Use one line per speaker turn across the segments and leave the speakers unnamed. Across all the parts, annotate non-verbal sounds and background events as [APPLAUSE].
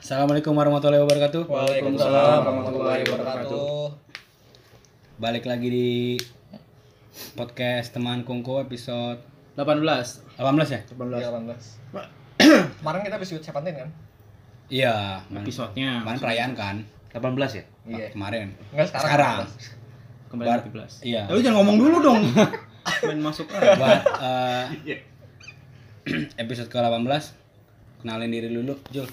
Assalamualaikum warahmatullahi wabarakatuh.
Waalaikumsalam warahmatullahi wabarakatuh.
Balik lagi di podcast teman kungko episode
18
18 ya?
18. [CLEARS THROAT] Kemarin kita habis syuting Seventeen kan?
Iya, kemarin-
episodenya
kemarin perayaan kan?
18 ya?
Iya.
Kemarin.
Enggak sekarang.
Sekarang.
kembali
Bar-
17
Iya.
lu jangan ngomong dulu dong [LAUGHS] main masuk aja
Buat eh, episode ke-18 kenalin diri dulu, Jul.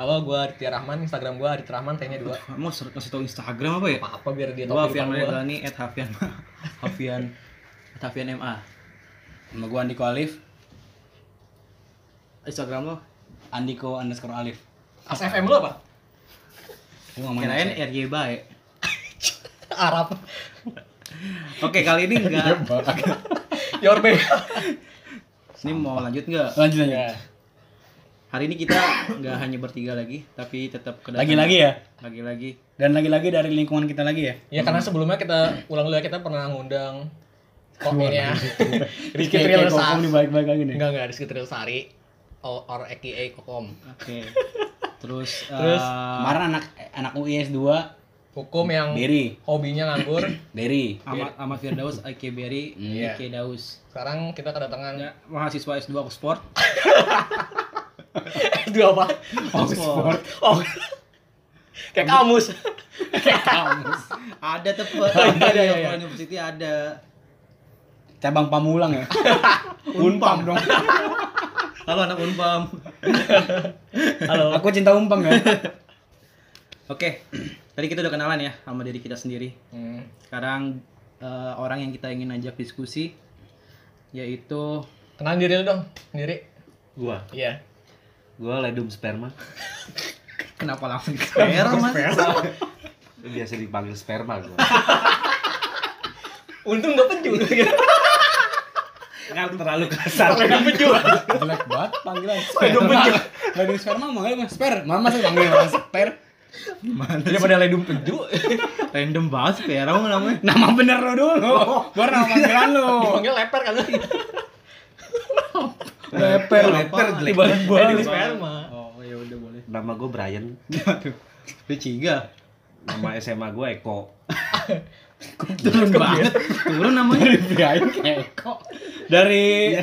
Halo, gua Aditya Rahman, Instagram gua Aditya Rahman, T-nya 2.
mau ser- kasih tau Instagram apa ya
Apa-apa biar dia
gua
tahu
Hafian
kehidupan gua.
Maulani at Hafian Hafian at Hafian MA
Nama gua Andiko Alif,
Instagram lo
Andiko underscore Alif.
As FM lu apa?
Gua ngomongin
kirain iya.
apa sih?
RY Bae
[LAUGHS] Arab.
oke kali ini enggak
Your [LAUGHS] babe.
ini mau lanjut enggak
Lanjut lanjut.
hari ini kita enggak hanya bertiga lagi tapi tetap kedatangan-
Lagi-lagi ya.
lagi-lagi
Dan lagi-lagi dari lingkungan kita lagi ya.
Ya karena sebelumnya kita ulang dulu ya kita pernah ngundang kominya [LAUGHS] Rizky Trial
Kokom
Sari.
nih baik-baik lagi nih.
Enggak enggak Rizky Trial Sari. O- Or AKA Kokom.
oke terus
Terus,
eh,
Kemarin anak anak UIS 2
Hukum yang
Berry,
hobinya nganggur.
[LAUGHS] Berry.
Ahmad Ahmad Firdaus IK Berry
Iya.
IK Daus
Sekarang kita kedatangan [LAUGHS]
ya, mahasiswa S2 Oxford
S2 apa?
Oxford
Oh. Kayak kamus.
ada tepet
Ada,
ada
iya, iya.
University ada
Cabang Pamulang ya.
Unpam dong [LAUGHS] halo anak Unpam
Halo.
Aku cinta umpang ya.
oke [CLEARS THROAT] tadi kita udah kenalan ya sama diri kita sendiri
Hmm.
sekarang eh, orang yang kita ingin ajak diskusi yaitu
Kenalin diri lu dong, sendiri.
Gua.
Iya.
Gua ledum sperma.
kenapa langsung ke Vera mas
Biasa dipanggil sperma gua.
Untung gak penju.
Kan terlalu kasar.
Gak penju. [LAUGHS]
Jelek banget panggilan. [LAUGHS] Ledum penju. Ledum sperma manggil mas sper. Mama sih manggil mas sper.
Dia pada ledum penju.
[LAUGHS] random banget sih, Vera mau namanya
Nama bener lu dulu. Gua nama panggilan lu.
Dipanggil leper kan lu.
Leper.
leper Eh,
Dibalik
Ledum
balik.
Eh, sperma.
oh ya udah boleh
Nama gua Brian.
aduh lu ciga
Nama SMA gua Eko.
turun banget turun namanya
Eko. Dari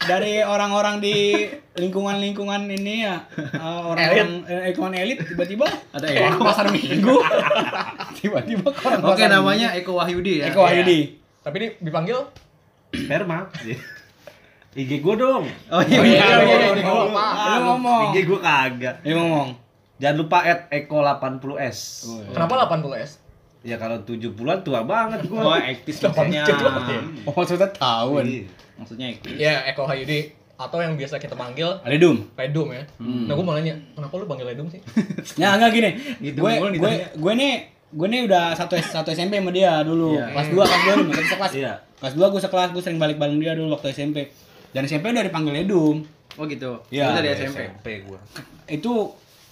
dari orang-orang di lingkungan-lingkungan ini ya eh, orang-orang eh, lingkungan elit tiba-tiba
ada
eh,
ya
orang pasar minggu tiba-tiba ke orang
oke
pasar
namanya Eko Wahyudi
Minggu.
ya
Eko Wahyudi
Tapi dia dipanggil
Sperma. [LAUGHS] IG gua dong.
oh iya
Oh,
iya,
iya,
iya,
iya,
iya.
iya. Apa?
Lu ngomong.
IG gua kagak.
Dia ngomong
Jangan lupa at Eko 80S.
Oh, iya.
kenapa 80 S?
Ya kalau 70-an tua banget
Oh,
gua.
aktif
Delapan
maksudnya.
jam berarti ya?
Oh, maksudnya tahun.
Iya.
Maksudnya aktif.
Ya Eko Hayudi atau yang biasa kita panggil
Ada dum.
Ledum ya.
Hmm.
Nah, gue mau nanya, kenapa lu panggil Ledum sih?
Eh.
Ya enggak gini.
Gitu,
gue
mulu
gue
ditanya.
gue nih gue nih udah satu satu SMP sama dia dulu.
Iya.
Kelas 2 kelas 2 dulu, kita sekelas.
Iya.
Kelas 2 gue sekelas, gue sering balik bareng dia dulu waktu SMP. Dan SMP udah dipanggil Edum.
Oh gitu.
Iya,
Lu dari
Dari
SMP.
SMP gua.
Itu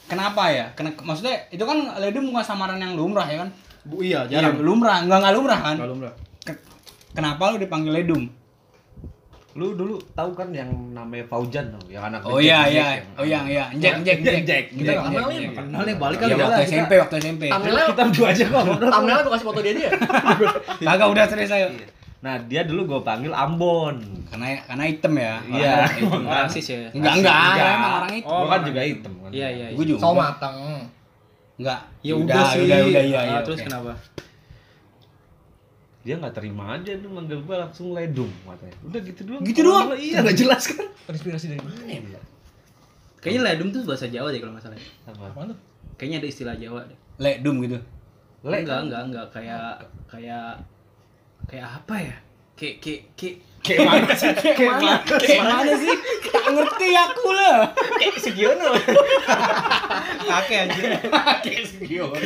kenapa ya? Kena, maksudnya itu kan Edum bukan samaran yang lumrah ya kan?
Bu, iya,
Iya, lumrah, enggak enggak lumrah kan?
Kalau lumrah.
Ke- kenapa lu dipanggil Edum?
Lu dulu tahu kan yang namanya Faujan tuh, yang anak
Oh
kecil,
iya
Jack,
iya.
yang-
Oh iya iya. Jack Jack Jack Jack.
iya,
Kita nggak kenalin.
Kenalnya balik
Ya,
kali ya.
waktu
kita-
SMP, waktu SMP.
Thumbnail
Kita berdua aja kok ngobrol.
thumbnail gue kasih foto dia dia.
Kagak udah serius ayo.
Nah, dia dulu gua panggil Ambon.
Karena karena hitam ya.
Iya,
Orang Rasis ya.
Enggak, enggak,
Enggak.
emang orang itu.
Gua kan juga hitam kan.
Iya, iya.
Gue juga.
So mateng.
Enggak.
Ya udah sih.
Udah, udah, iya,
Ah,
iya.
Terus
oke.
kenapa?
Dia nggak terima aja tuh manggil gua langsung ledum katanya. Udah gitu doang.
Gitu doang?
Orang bilang, Iya, nggak jelas kan.
Terinspirasi dari mana ya? Bila?
Kayaknya ledum tuh bahasa Jawa deh kalau nggak salah.
Sama.
Apaan tuh?
Kayaknya ada istilah Jawa deh.
Lek dum gitu.
Le
Enggak, enggak, enggak kayak kayak kayak apa ya? Kayak kayak kayak
Kayak mana sih? Kayak mana? Kayak mana sih? Tak ngerti aku lah.
Kayak [LAUGHS] Sugiono.
kakek anjir.
Kayak Sugiono.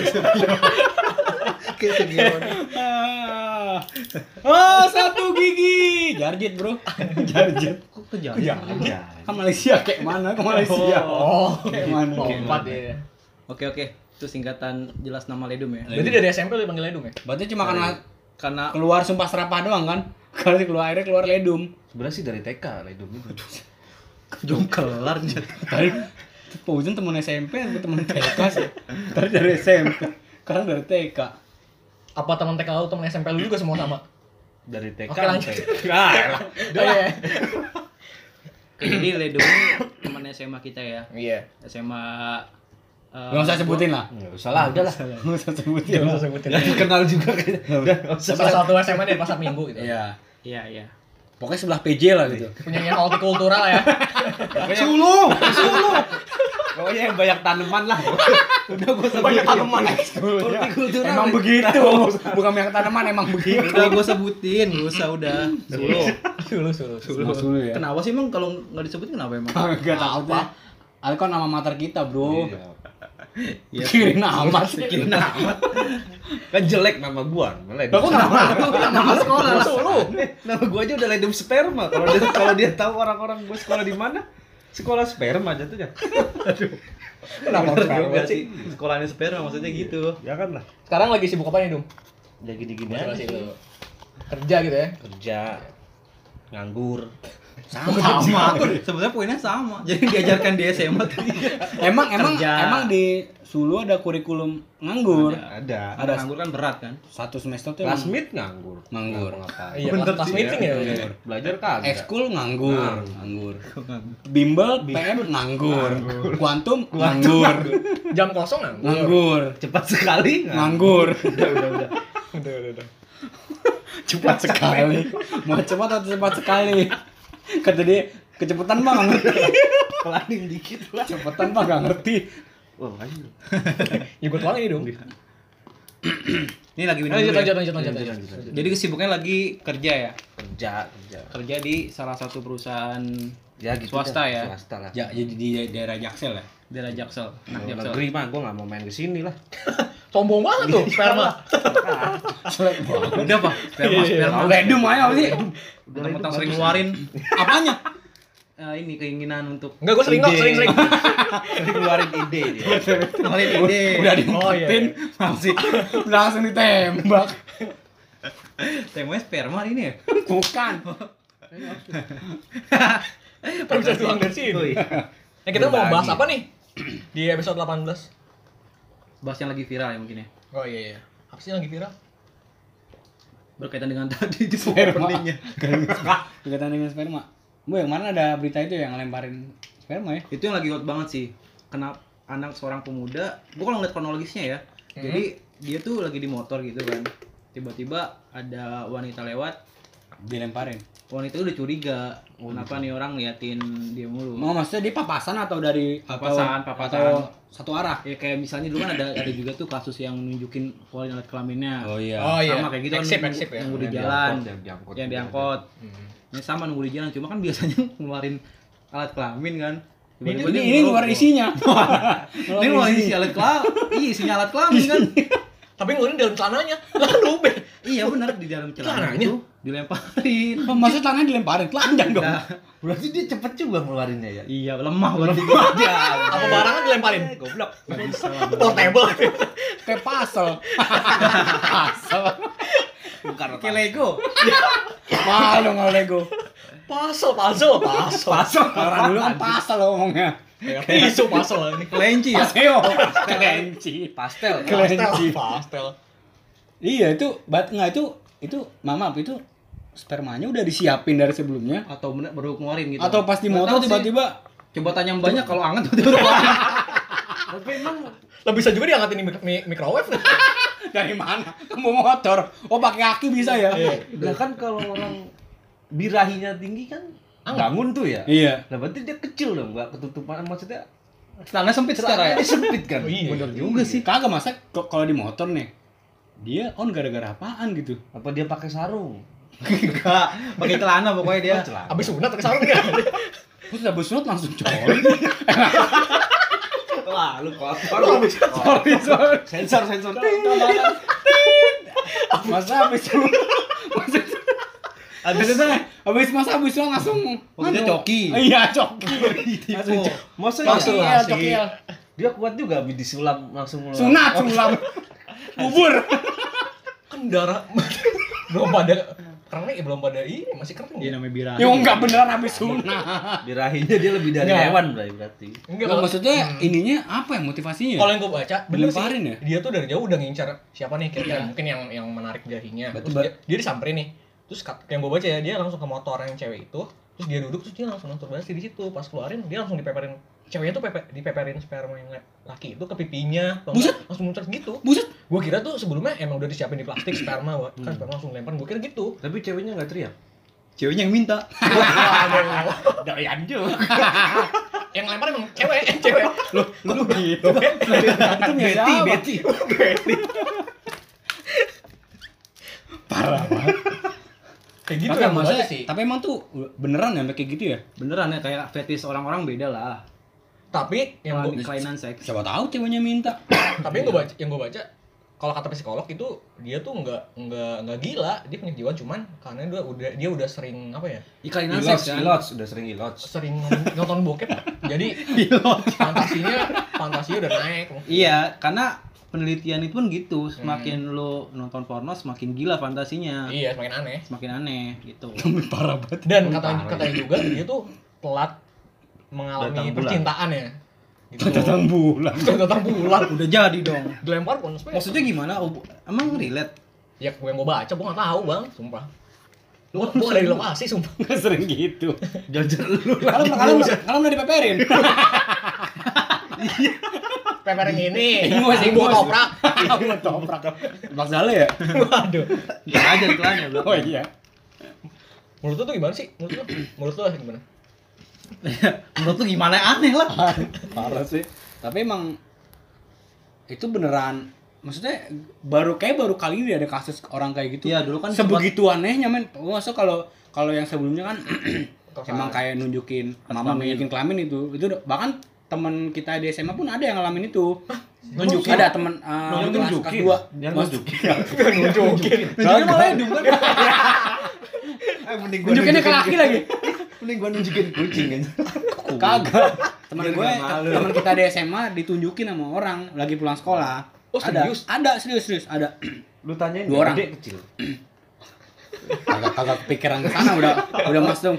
Kayak Sugiono.
Ah. Oh, satu gigi. Jarjit, Bro. Jarjit.
Kok ke Jawa?
Ya.
Iya.
Ke Malaysia kayak mana? Ke Malaysia.
Oh.
Kayak mana?
Lompat ya.
Oke, oke. Itu singkatan jelas nama ledum ya.
Berarti dari SMP lu dipanggil Ledum ya?
Berarti cuma karena
Karena
keluar sumpah serapah doang kan? [LAUGHS] Kalau sih keluar akhirnya keluar ledum.
Sebenarnya sih dari TK ledum itu. [LAUGHS]
jongkelar anjir.
Tadi Fauzan temen SMP atau temen TK sih? Ntar dari SMP. Karena dari TK.
Apa teman TK lu, teman SMP lu juga semua sama?
Dari TK
Oke, lanjut.
sampai-
Ah, elah.
Iya.
Jadi Ledo ini teman SMA kita ya.
Iya.
SMA eh,
Nggak usah sebutin lah.
Nggak usah lah, udah lah.
Nggak usah sebutin lah.
Nggak dikenal juga kayaknya. Udah, nggak usah.
Salah satu SMA di pasar minggu gitu.
Iya.
Iya, iya.
Pokoknya sebelah PJ lah gitu.
Punya yang multikultural ya.
Sulu! Sulu!
[LAUGHS] Pokoknya yang banyak tanaman
[LAUGHS]
lah. udah gue
Banyak
sebutin.
tanaman. Emang begitu. Bukan banyak tanaman, emang begitu.
Udah gue sebutin, gak usah udah. Sulu.
Sulu, sulu, sulu.
Sulu, sulu ya.
Kenapa sih emang kalau nggak disebutin kenapa emang?
Kagak tahu Pak. Alkon nama mater kita, Bro.
Iya.
Pikirin amat Iya sih.
Kira amat. Kan jelek nama gua, malah
Lah, kok nama? Kok nama sekolah?
Solo. Nama gua aja udah ledum sperma. Kalau dia kalau dia tahu orang-orang gua sekolah di mana, sekolah sperma jatuhnya.
Kenapa harus
Bener juga
sperma
sih.
Sekolahnya sperma maksudnya gitu.
Ya kan lah.
Sekarang lagi sibuk apa nih, Dum?
Udah gini-gini aja
Masih
sih.
lu. Kerja gitu ya.
Kerja, nganggur.
[LAUGHS] Sama. Sebenarnya poinnya sama. Jadi diajarkan di SMA tadi.
Emang emang
Kerja.
emang di Sulu ada kurikulum nganggur.
Ada.
Ada
Nganggur kan berat kan?
satu semester tuh
Kelas
emang
mid nganggur.
Nganggur.
Ngapa-ngapain.
Iya,
Bener
kelas kelas
sih,
meeting ya.
Nganggur. Belajar kagak.
ekskul nganggur,
Nganggur.
Nah. nganggur. Bimbel PM nganggur. Kuantum nganggur.
Jam kosong nganggur.
Nganggur.
Cepat sekali
Nganggur.
Udah, udah, udah.
Udah, udah, udah.
[LAUGHS] Cepat sekali. Mau cepat atau cepat sekali? Kata dia kecepatan mah [LAUGHS] nggak ngerti.
Pelanin dikit lah.
Cepetan mah nggak ngerti.
Wah, ayo.
Ya gua tuang ini, Dum.
Ini lagi minum
Lanjut,
dulu ya.
lanjut, lanjut, lanjut.
Lanjut,
lanjut.
lanjut, lanjut.
Jadi kesibukannya lagi kerja ya.
Kerja, kerja.
Kerja di salah satu perusahaan
Ya gitu.
Swasta
dah.
ya?
Swasta lah.
Ja, jadi di daerah Jaksel ya.
daerah Jaksel. Nah,
Kalau
Jaksel.
Oh, negeri mah gua nggak mau main ke sini lah. [LAUGHS]
Sombong banget tuh, sperma.
Selek banget.
Udah, Pak. Sperma, sperma.
Ledum aja apa sih?
Mentang-mentang sering ngeluarin
Apanya?
eh, ini keinginan untuk
Enggak, gua sering kok,
Ide.
sering, sering.
Jadi ngeluarin ide dia.
ngeluarin ide.
Udah
Oh, iya,
diungkatin, masih langsung ditembak.
iya. Temanya sperma ini ya.
Bukan.
Kan bisa tuang dari sini.
Woi.
Nah, kita mau
Berbagi.
bahas apa nih? Di episode 18.
Bahas yang lagi viral ya mungkin ya.
Oh iya, iya. Apa sih yang lagi viral?
Berkaitan dengan tadi di
Sperma.
openingnya.
Berkaitan dengan sperma. Bu yang mana ada berita itu yang lemparin sperma ya?
Itu yang lagi hot banget sih. Kenapa anak seorang pemuda, gua kalau ngeliat kronologisnya ya.
Hmm.
Jadi dia tuh lagi di motor gitu kan. Tiba-tiba ada wanita lewat,
Dilemparin.
wanita itu udah curiga. "Oh, Kenapa nih orang ngeliatin dia mulu?
Mau Oh, maksudnya dia papasan atau dari atau-
Papasan, papasan.
atau satu arah?
ya kayak misalnya dulu kan ada ada juga tuh kasus yang nunjukin keluarin alat kelaminnya
Oh iya.
Oh iya.
sama kayak gitu kan
Eksip,
nunggu-
eksip ya.
nunggu di
Yang
jalan
diangkut, yang diangkut.
ya, yang diangkut
Hmm.
ini sama nunggu di jalan cuma kan biasanya [LAUGHS] ngeluarin alat kelamin kan
Ini
Tiba-tiba
ini,
dia
ini luar
ngerokok.
isinya.
[LAUGHS] ini luar isi alat kelamin iya isinya alat kelamin
[LAUGHS]
kan
Tapi ngeluarin dalam celananya. Lah kan robek.
iya benar di dalam celana
Celananya?
itu dilemparin
Apa Oh, Maksudnya tangannya dilemparin, telanjang dong.
Nah,
Berarti dia cepet juga ngeluarinnya ya.
iya lemah
[LAUGHS]
banget aja
Apa barangnya dilemparin?
Goblok.
Portable.
Kayak pasel. [LAUGHS] pasel.
Bukan otak.
kayak Lego
Mahal dong kalau Lego.
Puzzle, puzzle, puzzle.
Pasel. Orang dulu kan pasel ngomongnya.
Isu puzzle ini.
kelenci ya
Paseo. Kelenci.
Pastel.
Kelenci.
Pastel, pastel.
Iya itu bat nggak itu itu mama itu spermanya udah disiapin dari sebelumnya
atau bener- baru ngeluarin gitu
atau pas di
Nggak
motor
tahu sih.
tiba-tiba [LAUGHS]
coba tanya banyak kalau anget tiba-tiba keluarin.
Tapi emang
Lah bisa juga diangkatin di mik- mi- microwave.
dari mana mau motor oh pakai kaki bisa ya
lah kan kalau orang birahinya tinggi kan
Anget.
bangun tuh ya.
iya
Nah berarti dia kecil dong, nggak ketutupan maksudnya
celana sempit secara ya
celananya sempit kan.
Oh, iya.
Bener
juga sih kagak masa k- kalau di motor nih dia on gara-gara apaan gitu
Apa dia pakai sarung?
Enggak, pakai celana pokoknya dia.
Oh, celana.
Habis sunat pakai sarung ya. enggak?
terus udah sunat langsung [LAUGHS] coli
Wah, lu kotor. lu.
sorry sorry
Sensor sensor.
masa habis sunat masa
[LAUGHS]
habis habis masa habis sunat langsung
Maksudnya
anu.
coki.
iya coki Langsung
Langsung jok. Maksudnya
Langsung
iya,
lah,
jok,
sih.
iya. Dia kuat juga habis disulam langsung ngeluar.
sunat sulam bubur
Kan darah [LAUGHS] belum pada kerennya ya belum pada ini masih kering
Dia
ya?
Iya, namanya birahi.
Ya enggak beneran habis sunat.
Birahinya dia lebih dari
Nggak.
hewan berarti. berarti.
Enggak,
Enggak
kalau-
Iya, maksudnya ya,
Hmm.
ininya apa yang motivasinya?
kalau yang gue baca bener sih
Dilemparin ya?
dia tuh dari jauh udah ngincar siapa nih kira-kira mungkin yang yang menarik dahinya terus dia, dia disamperin nih terus kat- yang gue baca ya dia langsung ke motor yang cewek itu terus dia duduk terus dia langsung nonton basi di situ pas keluarin dia langsung dipeperin ceweknya tuh pepe, dipeperin sperma yang le- laki itu ke pipinya atau enggak, langsung muncrat gitu
Buset.
gue kira tuh sebelumnya emang udah disiapin di plastik sperma Wak. kan sperma langsung lempar gue kira
[LAUGHS]
gitu
Tapi ceweknya nggak teriak.
Ceweknya yang minta.
Doyan juga.
yang lempar emang cewek cewek
Loh, lu gitu. Itu Betty,
Betty,
Betty.
Betty.
Parah banget.
kayak gitu
Gitu
yang gue
maksudnya,
baca sih
Tapi emang tuh beneran ya sampai kayak gitu ya?
Beneran ya kayak fetis orang-orang beda lah.
tapi yang
Kelainan-
gue
kelainan seks.
Siapa tahu ceweknya minta. [LAUGHS]
tapi yang gue baca yang gue baca kalau kata psikolog itu dia tuh nggak nggak nggak gila dia punya jiwa cuman karena dia udah dia udah sering apa ya
Ya, kelainan
Ilots,
seks kan.
ilots, udah sering ilots.
sering nonton bokep jadi fantasinya fantasinya udah naik
Iya, karena penelitian itu pun gitu,
Hmm.
semakin lu nonton porno semakin gila fantasinya,
iya semakin aneh
semakin aneh gitu. [LAUGHS]
Tapi parah banget.
dan katanya katanya juga dia tuh telat mengalami
Datang bulan.
percintaan ya gitu
Datang bulan. [LAUGHS]
datang bulan
Udah jadi dong.
dilempar pun sebenarnya
Maksudnya gimana? Ob- Emang relate?
ya gue yang gue baca gue nggak tahu bang sumpah gue gue ada di lokasi sumpah
Nggak sering gitu.
Jajar lu
[LAUGHS]
Kalau kalau kalau udah [LAUGHS] dipeperin.
peperin ini
Ingus,
ini gue
ingus.
toprak
Kamu Iya, toprak. Bang Saleh ya?
waduh
Gak ada celahnya, bro.
[LAUGHS] Oh iya.
Menurut lu tuh gimana sih? Menurut lu? Menurut lu gimana?
Menurut lu gimana aneh lah.
Parah sih. Tapi emang itu beneran maksudnya baru kayak baru kali ini ada kasus orang kayak gitu.
Iya, dulu kan
sebegitu anehnya men. Maksudnya kalau kalau yang sebelumnya kan [CLEARS THROAT] emang
Kelamin.
kayak nunjukin mama nunjukin kelamin itu. Itu udah- bahkan temen kita di SMA pun ada yang ngalamin itu. Nunjukin ada temen eh,
Yang
kelas-
nunjukin?
kelas dua.
Yang
Mas-
nunjukin?
[LAUGHS] Nunjukin.
Nunjukin malah hidung kan.
Eh, mending gua
Nunjukinnya ke laki lagi.
Mending gua nunjukin kucing kan.
Kagak. Temen
Biar
gue,
nggak malu.
temen kita di SMA ditunjukin sama orang lagi pulang sekolah.
Oh,
Ada-
serius?
Ada, serius, serius, ada.
Lu [LAUGHS] tanyain
Dua orang.
gede kecil.
kagak kagak kepikiran ke sana udah udah mas dong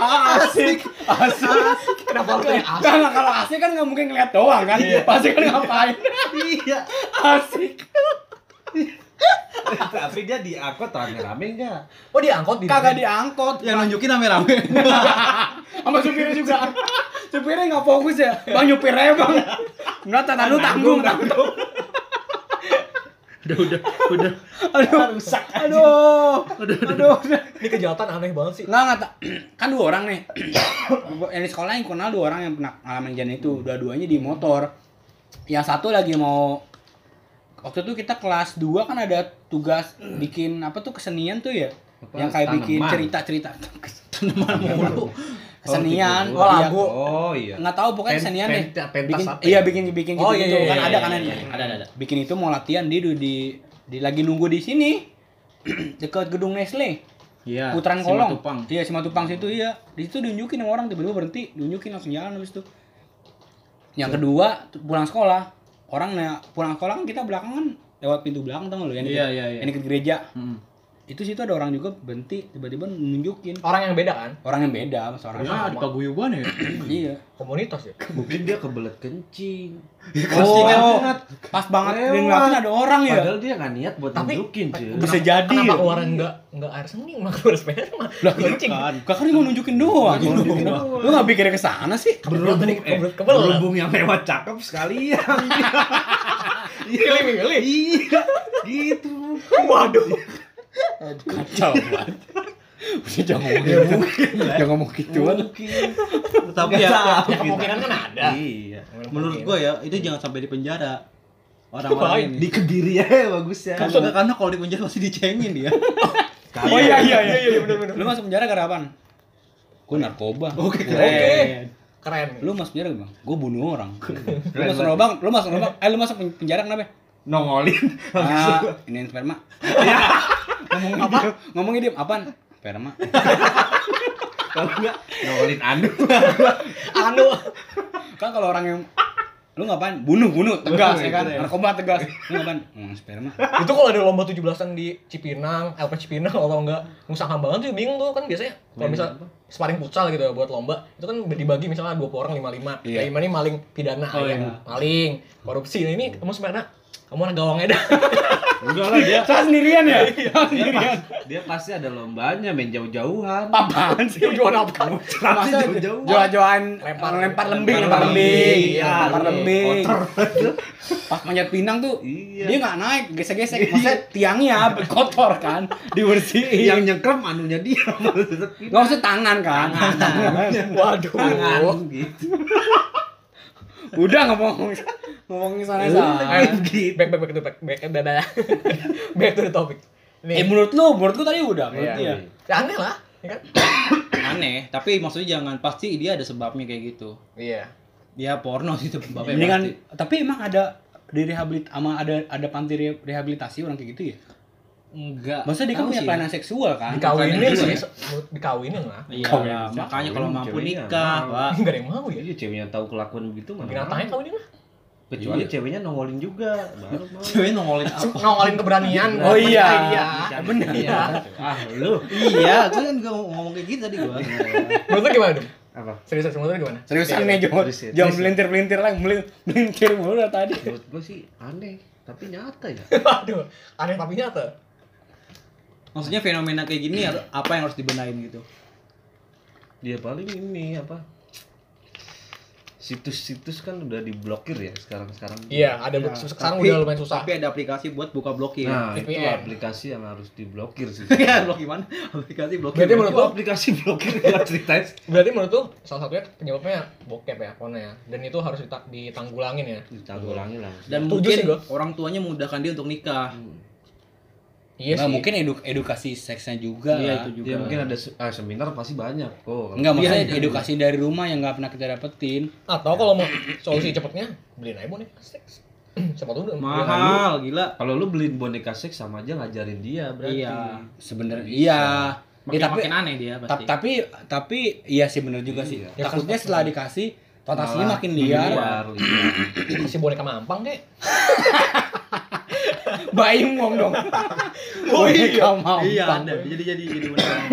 asik asik asik
Kenapa lu kayak asik?
karena kalau asik kan nggak mungkin ngeliat doang kan pasti kan ngapain
Iya.
asik
Tapi dia diangkut rame-rame enggak?
Oh dia angkot di
kagak diangkot
Yang nunjukin rame-rame.
sama supirnya juga supirnya nggak fokus ya bang nyupirnya bang nggak tata lu tanggung tanggung
udah, udah, udah.
aduh rusak aduh aduh
Ini kejahatan aneh banget
[LAUGHS]
sih.
nggak nggak tak- kan dua orang nih [COUGHS] yang di sekolah yang kenal dua orang yang pernah ngalamin kejadian itu dua-duanya di motor yang satu lagi mau waktu itu kita kelas 2 kan ada tugas bikin apa tuh kesenian tuh ya yang kayak bikin
Tanaman.
cerita-cerita [LAUGHS] tanaman mulu kesenian iya.
Oh,
Oh, gitu. lagu.
Oh iya.
nggak tahu pokoknya
Pen-
kesenian deh
pen- pentas
bikin,
apa ya?
iya bikin bikin gitu,
Oh, iya, iya,
kan ada
iya, iya,
kan
iya.
ada ada bikin itu mau latihan dia di, di, di lagi nunggu di sini [CLEARS THROAT] dekat gedung Nestle
Nah,
Iya.
Putaran
si
kolong.
Matupang.
Iya, Simatupang situ iya. Di situ diunjukin sama orang tiba-tiba berhenti, diunjukin langsung jalan habis itu. Yang kedua tu- pulang sekolah. Orang na- pulang sekolah kan kita belakangan lewat pintu belakang tau nggak lu yang
Iya, iya, iya.
yang deket gereja.
Hmm.
Itu situ ada orang juga berhenti tiba-tiba nunjukin
Orang yang beda kan?
orang yang beda sama orang
Ya, di
sama.
paguyuban ya.
Iya.
Komunitas ya.
Mungkin dia kebelet kencing.
Oh,
banget.
pas banget
Lewat.
dia ngeliatin ada orang ya.
Padahal dia nggak niat buat
Tapi-
nunjukin, cuy.
Bisa jadi.
Kenapa
ya.
keluaran nggak nggak air seni [LAUGHS] mah keluar sperma?
Lah,
Kencing.
kan. Kakak cuma nunjukin doang. Nunjukin doang. Lu nggak pikir ke sana sih?
Berhubung
eh,
kebelet kebelet. [LAUGHS]
berhubung yang lewat cakep sekalian.
Pilih pilih.
iya, gitu.
Waduh.
Kacau banget. Udah jangan ngomong
Ya
gitu.
mungkin lah.
Jangan gitu. ngomong gituan.
Mungkin.
Tapi
Nggak
ya,
tahu
Ya
kita.
kemungkinan kan ada.
Iya.
menurut gua ya, itu jangan sampai di penjara.
Ngapain?
Orang-orang
Di
ini.
Kediri ya bagusnya.
Karena, karena kalau di penjara pasti dicengin dia.
Oh iya iya iya.
iya benar benar.
Lu masuk penjara gara apaan? Gue narkoba.
Oke,
Gua-
Oke. Keren.
Lu masuk penjara bang? Gue bunuh orang. lu masuk lubang, lu masuk lubang. Eh lu masuk pen- penjara kenapa?
Nongolin.
Ah, ini sperma. Ngomongin apa? Ngomongin dia apaan? Sperma.
Kalau enggak nongolin anu.
Anu.
Kan kalau orang yang lu ngapain bunuh bunuh tegas ya kan
Gitu ya.
narkoba tegas lu ngapain hmm, sperma
[LAUGHS] itu kalau ada lomba 17-an di Cipinang, LP Cipinang kalau enggak Nusa Kambangan tuh bingung tuh kan biasanya kalau misal sparring futsal gitu ya buat lomba itu kan dibagi misalnya 20 orang 55
Iya.
yeah. ini maling pidana
Oh,
ya.
iya.
maling korupsi nah, ini kamu sebenarnya kamu anak gawangnya dah
Enggak lah dia
saya sendirian ya
dia, pa- dia pasti ada lombanya main jauh-jauhan.
apaan sih
tujuan apa
Pasti
Masa
jauh-jauhan.
Joa-joaan lempar
Lempar-
lempar lembing, lempar
lempar
lembing,
lembing, iya,
lempar
iya.
lembing. Pas manjat pinang tuh
Iya.
dia nggak naik, gesek-gesek. Maksudnya tiangnya kotor kan, dibersihin.
yang nyengkrem anunya dia
Nggak maksudnya tangan kan.
waduh
tangan gitu.
Udah ngomong ngomongin sana
Eh,
sana.
back back back to back back back back back to the topic
Eh
nih
menurut lu, menurut gua tadi udah, menurut
Iya.
dia.
aneh lah ya kan
aneh tapi maksudnya jangan pasti dia ada sebabnya kayak gitu
iya
dia porno sih itu bapak
Mendingan, kan tapi emang ada di rehabilit ama ada ada panti re- rehabilitasi orang kayak gitu ya.
enggak
Maksudnya dia kan
Tahu
punya
sih. ya.
kelainan seksual kan.
[LAUGHS]
dikawinin
Bukan
sih
yang
menurut dikawinin lah
iya
Kawin aja.
makanya kalau
Kawin,
mampu
ceweknya.
nikah pak
nggak ada yang mau ya
Iya ceweknya tahu kelakuan begitu mana.
binatangnya Iya. kawinin lah
Kecuali ceweknya nongolin juga. Baru mau.
cewek nongolin apa
nongolin keberanian
Oh iya.
iya
Benar.
iya
Ah lu.
iya gue kan gua ngomong kayak gitu tadi gua
menurut lu gimana dong
Apa?
serius serius menurut lu gimana Iya.
Serius kan ini Jo,
Serius, serius.
jangan melintir-melintir lagi, melintir mulu dari tadi.
Menurut gua sih aneh, tapi nyata ya.
aduh aneh tapi nyata
maksudnya fenomena kayak gini har- apa yang harus dibenahin gitu
Dia paling ini apa? Situs-situs kan udah diblokir ya sekarang-sekarang.
iya ada
Ya,
sekarang
tapi-
udah lumayan susah
tapi ada aplikasi buat buka blokir [LAUGHS]
Nah, itu
VPN.
aplikasi yang harus diblokir sih.
ya blokir mana aplikasi blokir
Berarti menurut
Itu aplikasi blokir ya ceritain.
berarti menurut lu salah satunya penyebabnya bokep ya porno ya dan itu harus dita- ditanggulangin ya
Ditanggulangi lah.
dan
Setuju
mungkin
sih gua.
orang tuanya memudahkan dia untuk nikah
iya
Nggak,
sih
mungkin edu- edukasi seksnya juga.
Iya,
lah.
itu juga.
Ya mungkin ada se- ah, seminar pasti banyak kok. Kalau-
Enggak, maksudnya
Iya, iya.
edukasi dari rumah yang nggak pernah kita dapetin.
atau kalau mau solusi cepetnya beliin aja boneka seks [CLEARS THROAT] siapa tuh udah
mahal gila
Kalau lu beliin boneka seks sama aja ngajarin dia berarti. Ya,
iya
Sebenarnya iya. Ya,
makin,
tapi
makin aneh dia
ta-
pasti
tapi tapi iya sih bener juga sih.
Iya.
Takutnya setelah dikasih fantasinya
Malah
makin liar.
liar, iya.
si boneka mampang kek
Bayi ngomong [LAUGHS] dong. Oh iya, mau.
iya ada jadi jadi jadi benar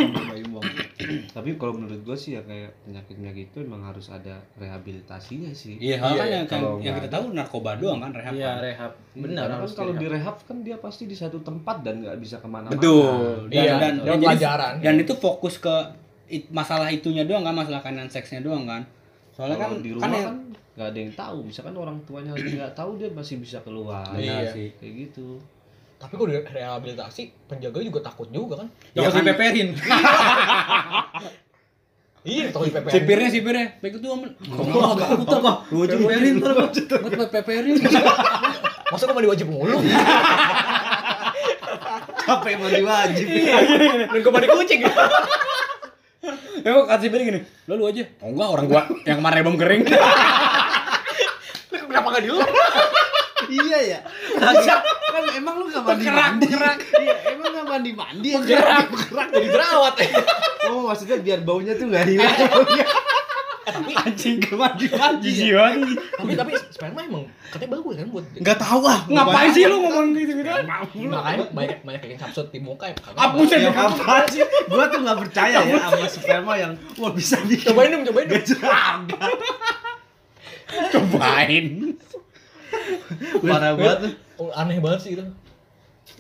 Tapi kalau menurut gua sih ya kayak penyakit-penyakit itu emang harus ada rehabilitasinya sih.
Iya, soalnya kan
iya,
yang-
kalau
yang
nggak
kita tahu narkoba doang kan rehab.
iya
kan.
rehab
Benar,
benar Iya.
kan
harus
kalau
direhab.
direhab kan dia pasti di satu tempat dan nggak bisa kemana-mana.
Betul. Dan,
Iya,
dan,
lewat
dan, jadi-
pelajaran.
dan itu fokus ke it- masalah itunya doang kan, masalah kainan seksnya doang kan.
Kalau
Soalnya kan
di rumah kan
yang-
nggak ada yang tahu. Misalkan orang tuanya nggak tahu dia masih bisa keluar.
kan Benar
Iya.
sih.
Kayak gitu.
tapi kalau di rehabilitasi penjaga juga takut juga kan
Ya kan.
Jangan dipeperin.
iya takut di PPN
Sipirnya sipirnya, baik [LAUGHS] itu aman. Enggak enggak aku tuh. Lu aja
Peperin
peperin
ntar
terus.
gua.
Buat peperin. [LAUGHS]
masa gue mandi wajib mulu
Capek mandi wajib.
dan gue mandi [LAUGHS] kucing
Ya kok kasih sipir gini. Lo lu aja. Oh enggak orang gua yang kemarin bom [LAUGHS] kering.
Lu kenapa gak dulu
iya ya. Bisa. Kan emang lu nggak mandi mandi. Iya, emang nggak mandi mandi. Gerak, gerak.
jadi jerawat
Oh, maksudnya biar baunya tuh nggak hilang.
[LAUGHS]
Anjing gua mandi mandi.
ya?
Iya.
Jiwa
[LAUGHS] tapi tapi sperma emang katanya bagus kan buat
Enggak tahu ah.
Ngapain sih lu ngomong gitu gitu?
makanya banyak banyak yang capsut di muka ya
Ah, buset.
Yang apa sih? Gua tuh nggak percaya ya sama sperma yang wah bisa bikin.
cobain dong cobain dong
Cobain.
Parah banget. lu.
Oh, aneh banget sih itu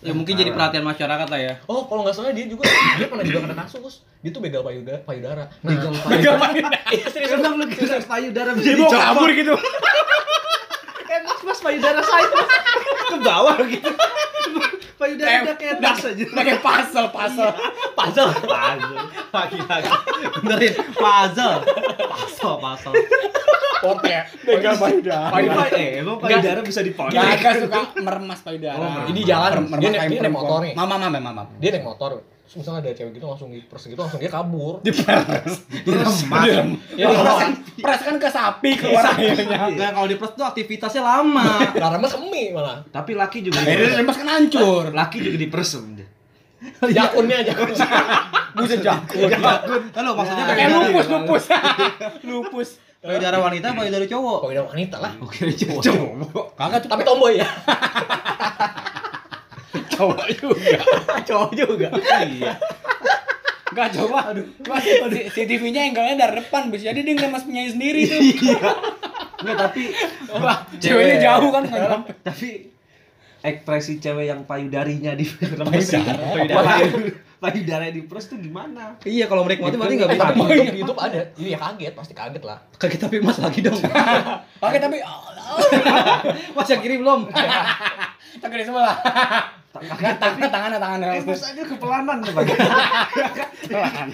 Ya mungkin jadi perhatian masyarakat lah ya.
oh kalau nggak salah dia juga dia pernah juga kena kasus dia tuh begal payudara payudara nah, [LAUGHS] begal payudara iya serius
Emang lu kira payudara
Dia
bisa
mau kabur gitu.
Eh, mas, mas payudara saya mas. ke bawah gitu.
Eh,
Payudara udah
Eh,
kayak
dah,
tas aja.
Pakai pasel pasel.
puzzle
Puzzle. Lagi-lagi.
Benerin puzzle. Puzzle, puzzle.
port ya
Enggak payudara.
Payudara- Eh, emang payudara bisa dipotong.
Gak agak suka meremas payudara.
Oh, meremas.
Ini jalan,
Merem-
dia
meremas
naik-
kain
dia naik
perempuan.
motor nih.
Mama mama mama.
dia naik motor terus misalnya ada cewek gitu langsung di pers gitu langsung dia kabur
Ya, peras kan, peras kan ke sapi keluar
Iya.
airnya.
Enggak kalau di plus tuh aktivitasnya
[LAUGHS]
lama.
nah remes semi malah
Tapi laki juga
Akhirnya
diperes.
lemas kan hancur.
Laki juga diperesem.
Oh, jakunnya jakun [LAUGHS]
Buset jago.
Halo, maksudnya
iya, Nah,
Eh
kayak
[LAUGHS] lupus lupus. lupus.
Payudara wanita, payudara cowok.
Pokoknya wanita lah.
Oke, cowok.
Kagak tuh
Tapi tomboy ya.
cowok
[LAUGHS]
juga.
Cowok juga.
Iya.
Enggak coba. Aduh. si, si TV-nya angle-nya dari depan, bisa jadi dia ngemas penyanyi sendiri tuh.
Enggak, Iya. tapi
Wah, ceweknya jauh kan nggak nyampe.
tapi ekspresi cewek yang payudarinya di film
Payudara.
[LAUGHS] payudara di pros tuh gimana?
Iya, kalau mereka mati berarti enggak
Eh,
bisa.
Tapi YouTube, YouTube ada. Iya kaget, pasti kaget lah.
Kaget tapi Mas lagi
[LAUGHS]
dong.
Oke, tapi oh,
Mas yang kiri belum.
tak di sebelah. Nggak,
Kaget,
tangan tangannya tangannya.
Eh, terus aja kepelanan ya, Pak.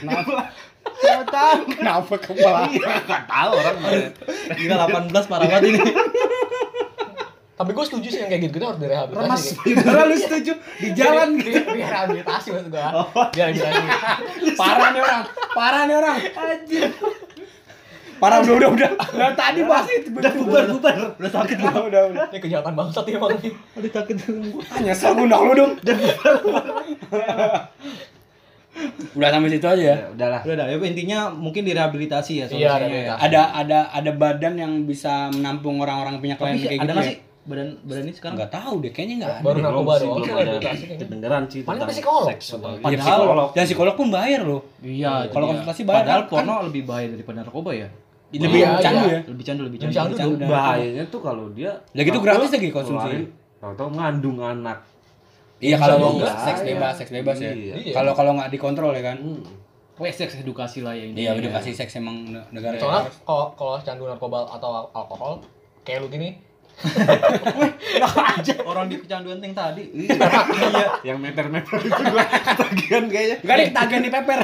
Kenapa?
Siapa tahu?
nah, Kenapa kepala?
Iya, Enggak tahu orang.
Gila 18 parah banget ini.
Tapi gue setuju sih yang kayak gitu-gitu harus direhabilitasi.
[LAUGHS]
Remas
sih.
payudara lu setuju di jalan
Di-
gitu.
di- Direhabilitasi maksud gue.
Oh.
Direhabilitasi.
Parah nih orang. Parah nih orang.
Anjir.
Parah udah udah udah. Udah tadi bahas itu.
Udah bubar bubar.
Udah sakit.
Udah udah. udah.
Ini kejahatan bangsat ya emang nih.
Udah sakit dulu.
Ah, Nyesel undang lu dong. Udah sampai situ aja ya.
Ya udahlah.
Udah dah, ya intinya mungkin direhabilitasi ya
Iya,
solusinya ya.
direhabilitasi.
Ada ada ada badan yang bisa menampung orang-orang punya
Tapi
kelainan kayak
ada
gitu.
nggak
ya?
sih Kan- badan badan ini sekarang?
Enggak tahu deh, kayaknya enggak ada.
Baru
Belum
narkoba
sih,
doang.
belum
Sih,
ada
rehabilitasi kayaknya.
kebenaran sih
Paling kan
tentang
psikolog.
seks atau-
Padahal,
Ya, psikolog.
dan psikolog pun bayar loh.
Iya,
Kalau
jadi ya.
konsultasi bayar
Padahal
kan?
porno lebih bahaya daripada narkoba ya.
Lebih
Iya,
candu
iya.
ya.
Lebih candu, lebih
Lebih
candu.
candu dong.
Candu.
Bahayanya tuh kalau dia
Udah gitu
takut
gratis lagi konsumsi.
ngeluarin, Tahu-tahu ngandung anak.
Iya kalau mau
Iya,
seks
iya.
bebas, seks bebas ya.
Iya.
Kalau kalau nggak dikontrol ya kan.
Hmm.
Kayak seks edukasi lah ya ini.
Iya, udah kasih seks emang ne-
Iya.
negara.
Soalnya
ya.
kalau kalau candu narkoba atau alkohol kayak lu gini
Orang di kecanduan ting tadi.
Iya, yang meter-meter itu gua ketagihan kayaknya.
Enggak deh, tagihan di paper.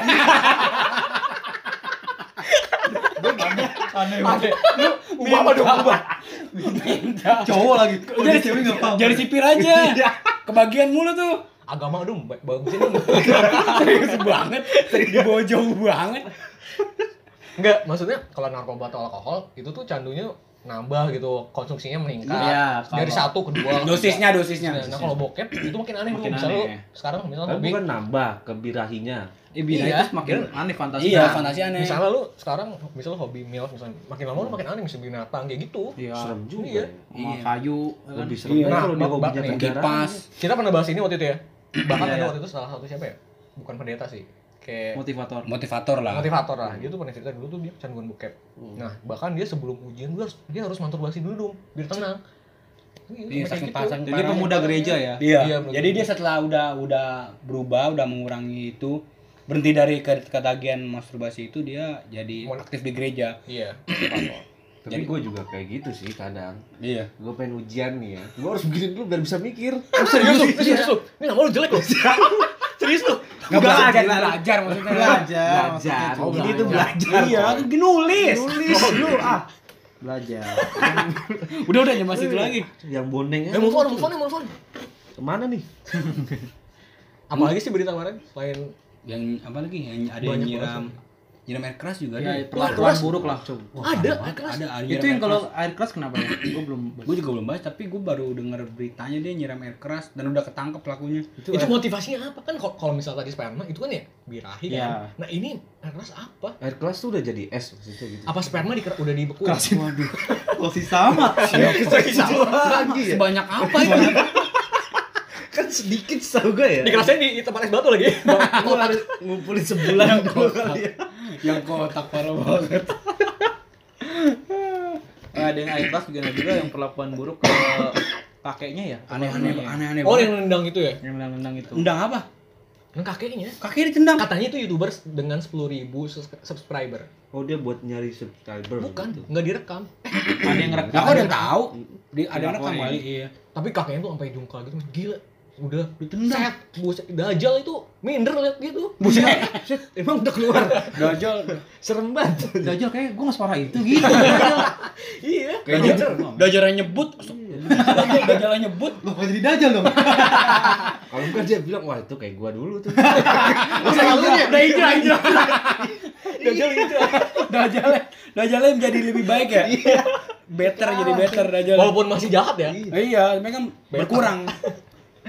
aneh banget lu ubah apa dong ubah
Cowok lagi. Udah cewek enggak paham.
Jadi sipir aja. Kebagian mulu tuh.
agama dong ba- bagusin dong [LAUGHS]
Serius banget. Dibawa jauh banget.
enggak maksudnya kalau narkoba atau alkohol itu tuh candunya nambah gitu konsumsinya meningkat
Iya,
dari
kalau-
satu ke dua
Dosisnya,
Nah,
dosisnya.
nah kalau bokep itu makin aneh dulu
Makin
misalnya lu
aneh.
sekarang misalnya
[LAUGHS] Tapi
hobi
bukan nambah kebirahinya.
Eh bina
Iya.
itu semakin aneh fantasi.
Iya, fantasi aneh.
misalnya lu sekarang misalnya hobi milf misalnya makin lama lu makin aneh misalnya binatang kayak gitu
Iya.
Serem
Iya.
juga. ya.
Sama
Iya.
kayu. ya kan?
Lebih serem
Iya.
lagi kalau dia
Nah,
hobinya
bak- bak-
kebenaran.
kipas.
kita pernah bahas ini waktu itu ya bahkan
Iya,
ada
iya.
waktu itu salah satu siapa ya bukan pendeta sih kayak
Motivator.
Motivator lah.
motivator lah dia tuh pernah cerita dulu tuh dia kecanduan bokep nah bahkan dia sebelum ujian dia harus dia harus masturbasi dulu dong biar tenang
Iya,
Sampai
saking
gitu.
pasang
Jadi pemuda gereja ya.
Iya.
Iya, bener.
Jadi dia setelah udah udah berubah, udah mengurangi itu, berhenti dari ke- ketagihan masturbasi itu dia jadi
Mon-
aktif di gereja.
iya
Tapi gue juga kayak gitu sih kadang.
Iya.
Gue pengen ujian nih ya. Gue harus begini dulu biar bisa mikir.
serius lu serius lu ini nama lu jelek lu serius lu
Enggak belajar, belajar maksudnya.
Belajar.
Oh,
Jadi itu belajar.
Iya, nulis.
Oh,
Nulis
iya.
lu ah.
[LAUGHS] Belajar.
Udah udah nyembah situ lagi.
Yang ya. bonengnya.
eh move on move on move on
Kemana nih?
apalagi sih berita kemarin selain
Yang apa lagi? Yang ada yang
Banyak
nyiram nyiram air keras juga
Iya,
Ya,
ada.
perlakuan buruk lah.
ada
Ada,
keras.
ada ada
Itu
nyiram
yang
air
kalau air keras kenapa ya? Gue belum.
keras. Gua juga belum bahas tapi gua baru denger beritanya dia nyiram air keras dan udah ketangkep pelakunya.
itu, motivasinya apa kan kalau- kalau misal tadi sperma itu kan ya birahi kan
Iya.
nah ini keras apa
Air kelas tuh udah jadi es maksudnya gitu.
apa sperma di, udah dibekuin
[LAUGHS]
Iya,
Waduh. Posisi sama.
lagi ya?
Sebanyak apa itu?
Kan sedikit tau gue ya.
dikerasnya di, di tempat es batu lagi
Iya,
Gue harus ngumpulin
[LAUGHS]
[LAUGHS]
sebulan dua kali ya.
yang kotak parah banget.
Eh, Ada yang air keras juga juga yang perlakuan buruk ke kakeknya ya.
Aneh-aneh aneh-aneh.
oh
banget.
yang nendang itu ya
Yang gitu. menang-menang itu.
Undang apa?
yang kakeknya
Kakek ditendang.
katanya itu youtuber dengan 10.000 ribu subscriber
Oh dia buat nyari subscriber.
bukan
gitu.
nggak direkam
Ada yang ngerekam.
Nah, kok ada yang tahu? Di ada yang rekam kali.
Dilaporin.
Iya.
tapi kakeknya tuh sampai jungkal gitu gila udah
Ditendang.
set buset dajal itu minder liat dia tuh
Buset.
Set, emang udah
[LAUGHS]
keluar
Dajjal.
serem banget
Gajal kayak gue nggak separah itu gitu.
iya
Dajjal.
Dajjal.
Dajjal yang nyebut. Dajjal Dajjal yang nyebut.
Lo kok jadi Dajal dong?
Kalau enggak dia bilang wah itu kayak gua dulu tuh.
Masa lalunya udah hijrah hijrah. Iya.
dajal gitu
Dajjal Dajjalnya menjadi lebih baik ya. Better jadi better Dajjal.
walaupun masih jahat ya
Iya, mereka kan berkurang.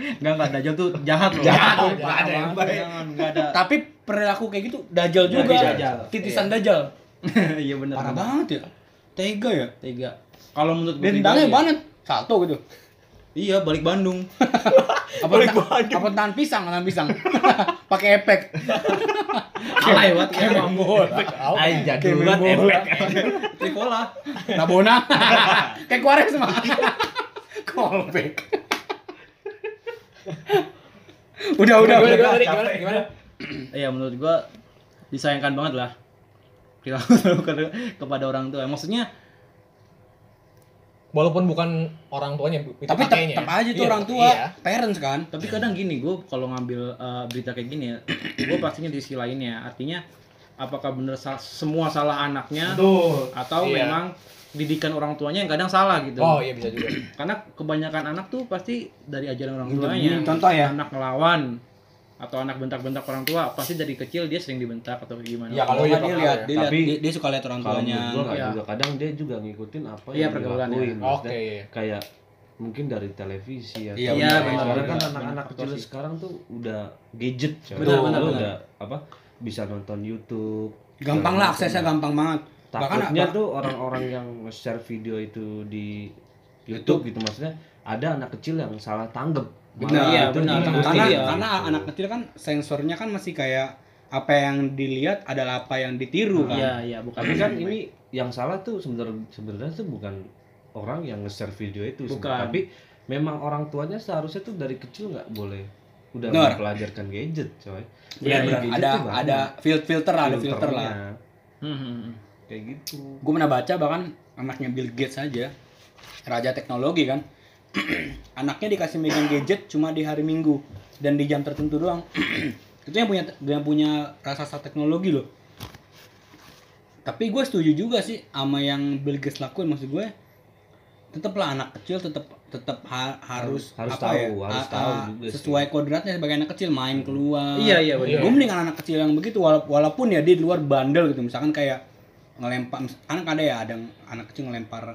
Enggak enggak Dajal tuh jahat loh.
Jahat,
Jangan,
nggak ada yang baik.
jangan, nggak ada.
Tapi perilaku kayak gitu Dajjal juga.
Dajjal.
Titisan Dajjal.
[LAUGHS] Iya benar.
Parah banget ya. Tega iya. ya?
Tega. Kalau menurut gue
Dendangnya
pribadi ya,
banget. Satu gitu.
Iya, balik
[LAUGHS]
Bandung.
Apa
Balik
ta-
Bandung.
apa tahan pisang, tahan pisang. [LAUGHS] Pakai efek.
Alay banget kayak
Mambo.
Ay, jadul banget efek.
Tricola.
Nabona. [LAUGHS] Kayak Quaresma. [LAUGHS] Callback. [LAUGHS] udah, udah, udah.
Gimana,
udah.
gimana, gimana?
Iya, menurut gua disayangkan banget lah perilaku ke- [LAUGHS] kepada orang tua. Maksudnya
Walaupun bukan orang tuanya, itu
Tapi tetap
kakeknya.
tetap aja tuh
Iya,
orang tua,
Iya.
parents kan.
tapi kadang gini gue kalau ngambil uh, berita kayak gini ya gue pastinya di sisi lainnya artinya apakah bener sa- semua salah anaknya
Betul.
atau
Iya.
memang didikan orang tuanya yang kadang salah gitu
Oh iya bisa juga.
karena kebanyakan anak tuh pasti dari ajaran orang
Gitu,
tuanya
gini contoh ya.
anak ngelawan atau anak bentak-bentak orang tua pasti dari kecil dia sering dibentak atau gimana
Ya kalau
Oh, iya,
nggak dia
bakal
lihat,
ya.
dia lihat,
Tapi-
dia, dia suka lihat orang
Kalau
tuanya.
menurut gua nggak
Iya.
juga kadang dia juga ngikutin apa
Iya, pergaulannya.
dilakuin.
Oke.
Maksudnya
iya.
Kayak mungkin dari televisi ya.
Iya,
Iya, benar.
Karena kan
Benar,
anak-anak
benar.
kecil
Benar.
sekarang tuh udah gadget. coy.
Benar, benar,
Lu
benar.
Udah apa bisa nonton YouTube.
Gampang lah aksesnya gampang banget.
Takutnya
apa-
tuh orang-orang yang share video itu di YouTube gitu maksudnya ada anak kecil yang salah tanggap.
Benar, iya,
itu
benar.
diikutin
karena
gitu.
karena anak kecil kan sensornya kan masih kayak apa yang dilihat adalah apa yang ditiru kan.
iya iya bukan
tapi
[CLEARS THROAT]
kan ini yang salah tuh sebenarnya sebenarnya tuh bukan orang yang nge-share video itu sih.
Bukan.
tapi memang orang tuanya seharusnya tuh dari kecil nggak boleh udah
Benar.
mempelajarkan gadget coy
Iya,
Dari
benar.
gadget
Ada
tuh banyak
ada fil- filter, ada filter lah.
filternya.
Hmm, hmm, hmm.
kayak gitu
gue pernah baca bahkan anaknya Bill Gates aja raja teknologi kan [CLEARS THROAT] anaknya dikasih megang gadget cuma di hari Minggu dan di jam tertentu doang [CLEARS THROAT] itu yang punya yang punya rasa teknologi loh tapi gue setuju juga sih sama yang Bill Gates lakuin maksud gue tetaplah anak kecil tetap tetap ha- harus
Harus
apa ya,
tahu, harus
a-
tahu
a-
juga sih.
sesuai kodratnya sebagai anak kecil main keluar
iya iya benar
gue mending anak kecil yang begitu wala- walaupun ya dia di luar bandel gitu misalkan kayak ngelempar mis- kan ada ya ada yang anak kecil ngelempar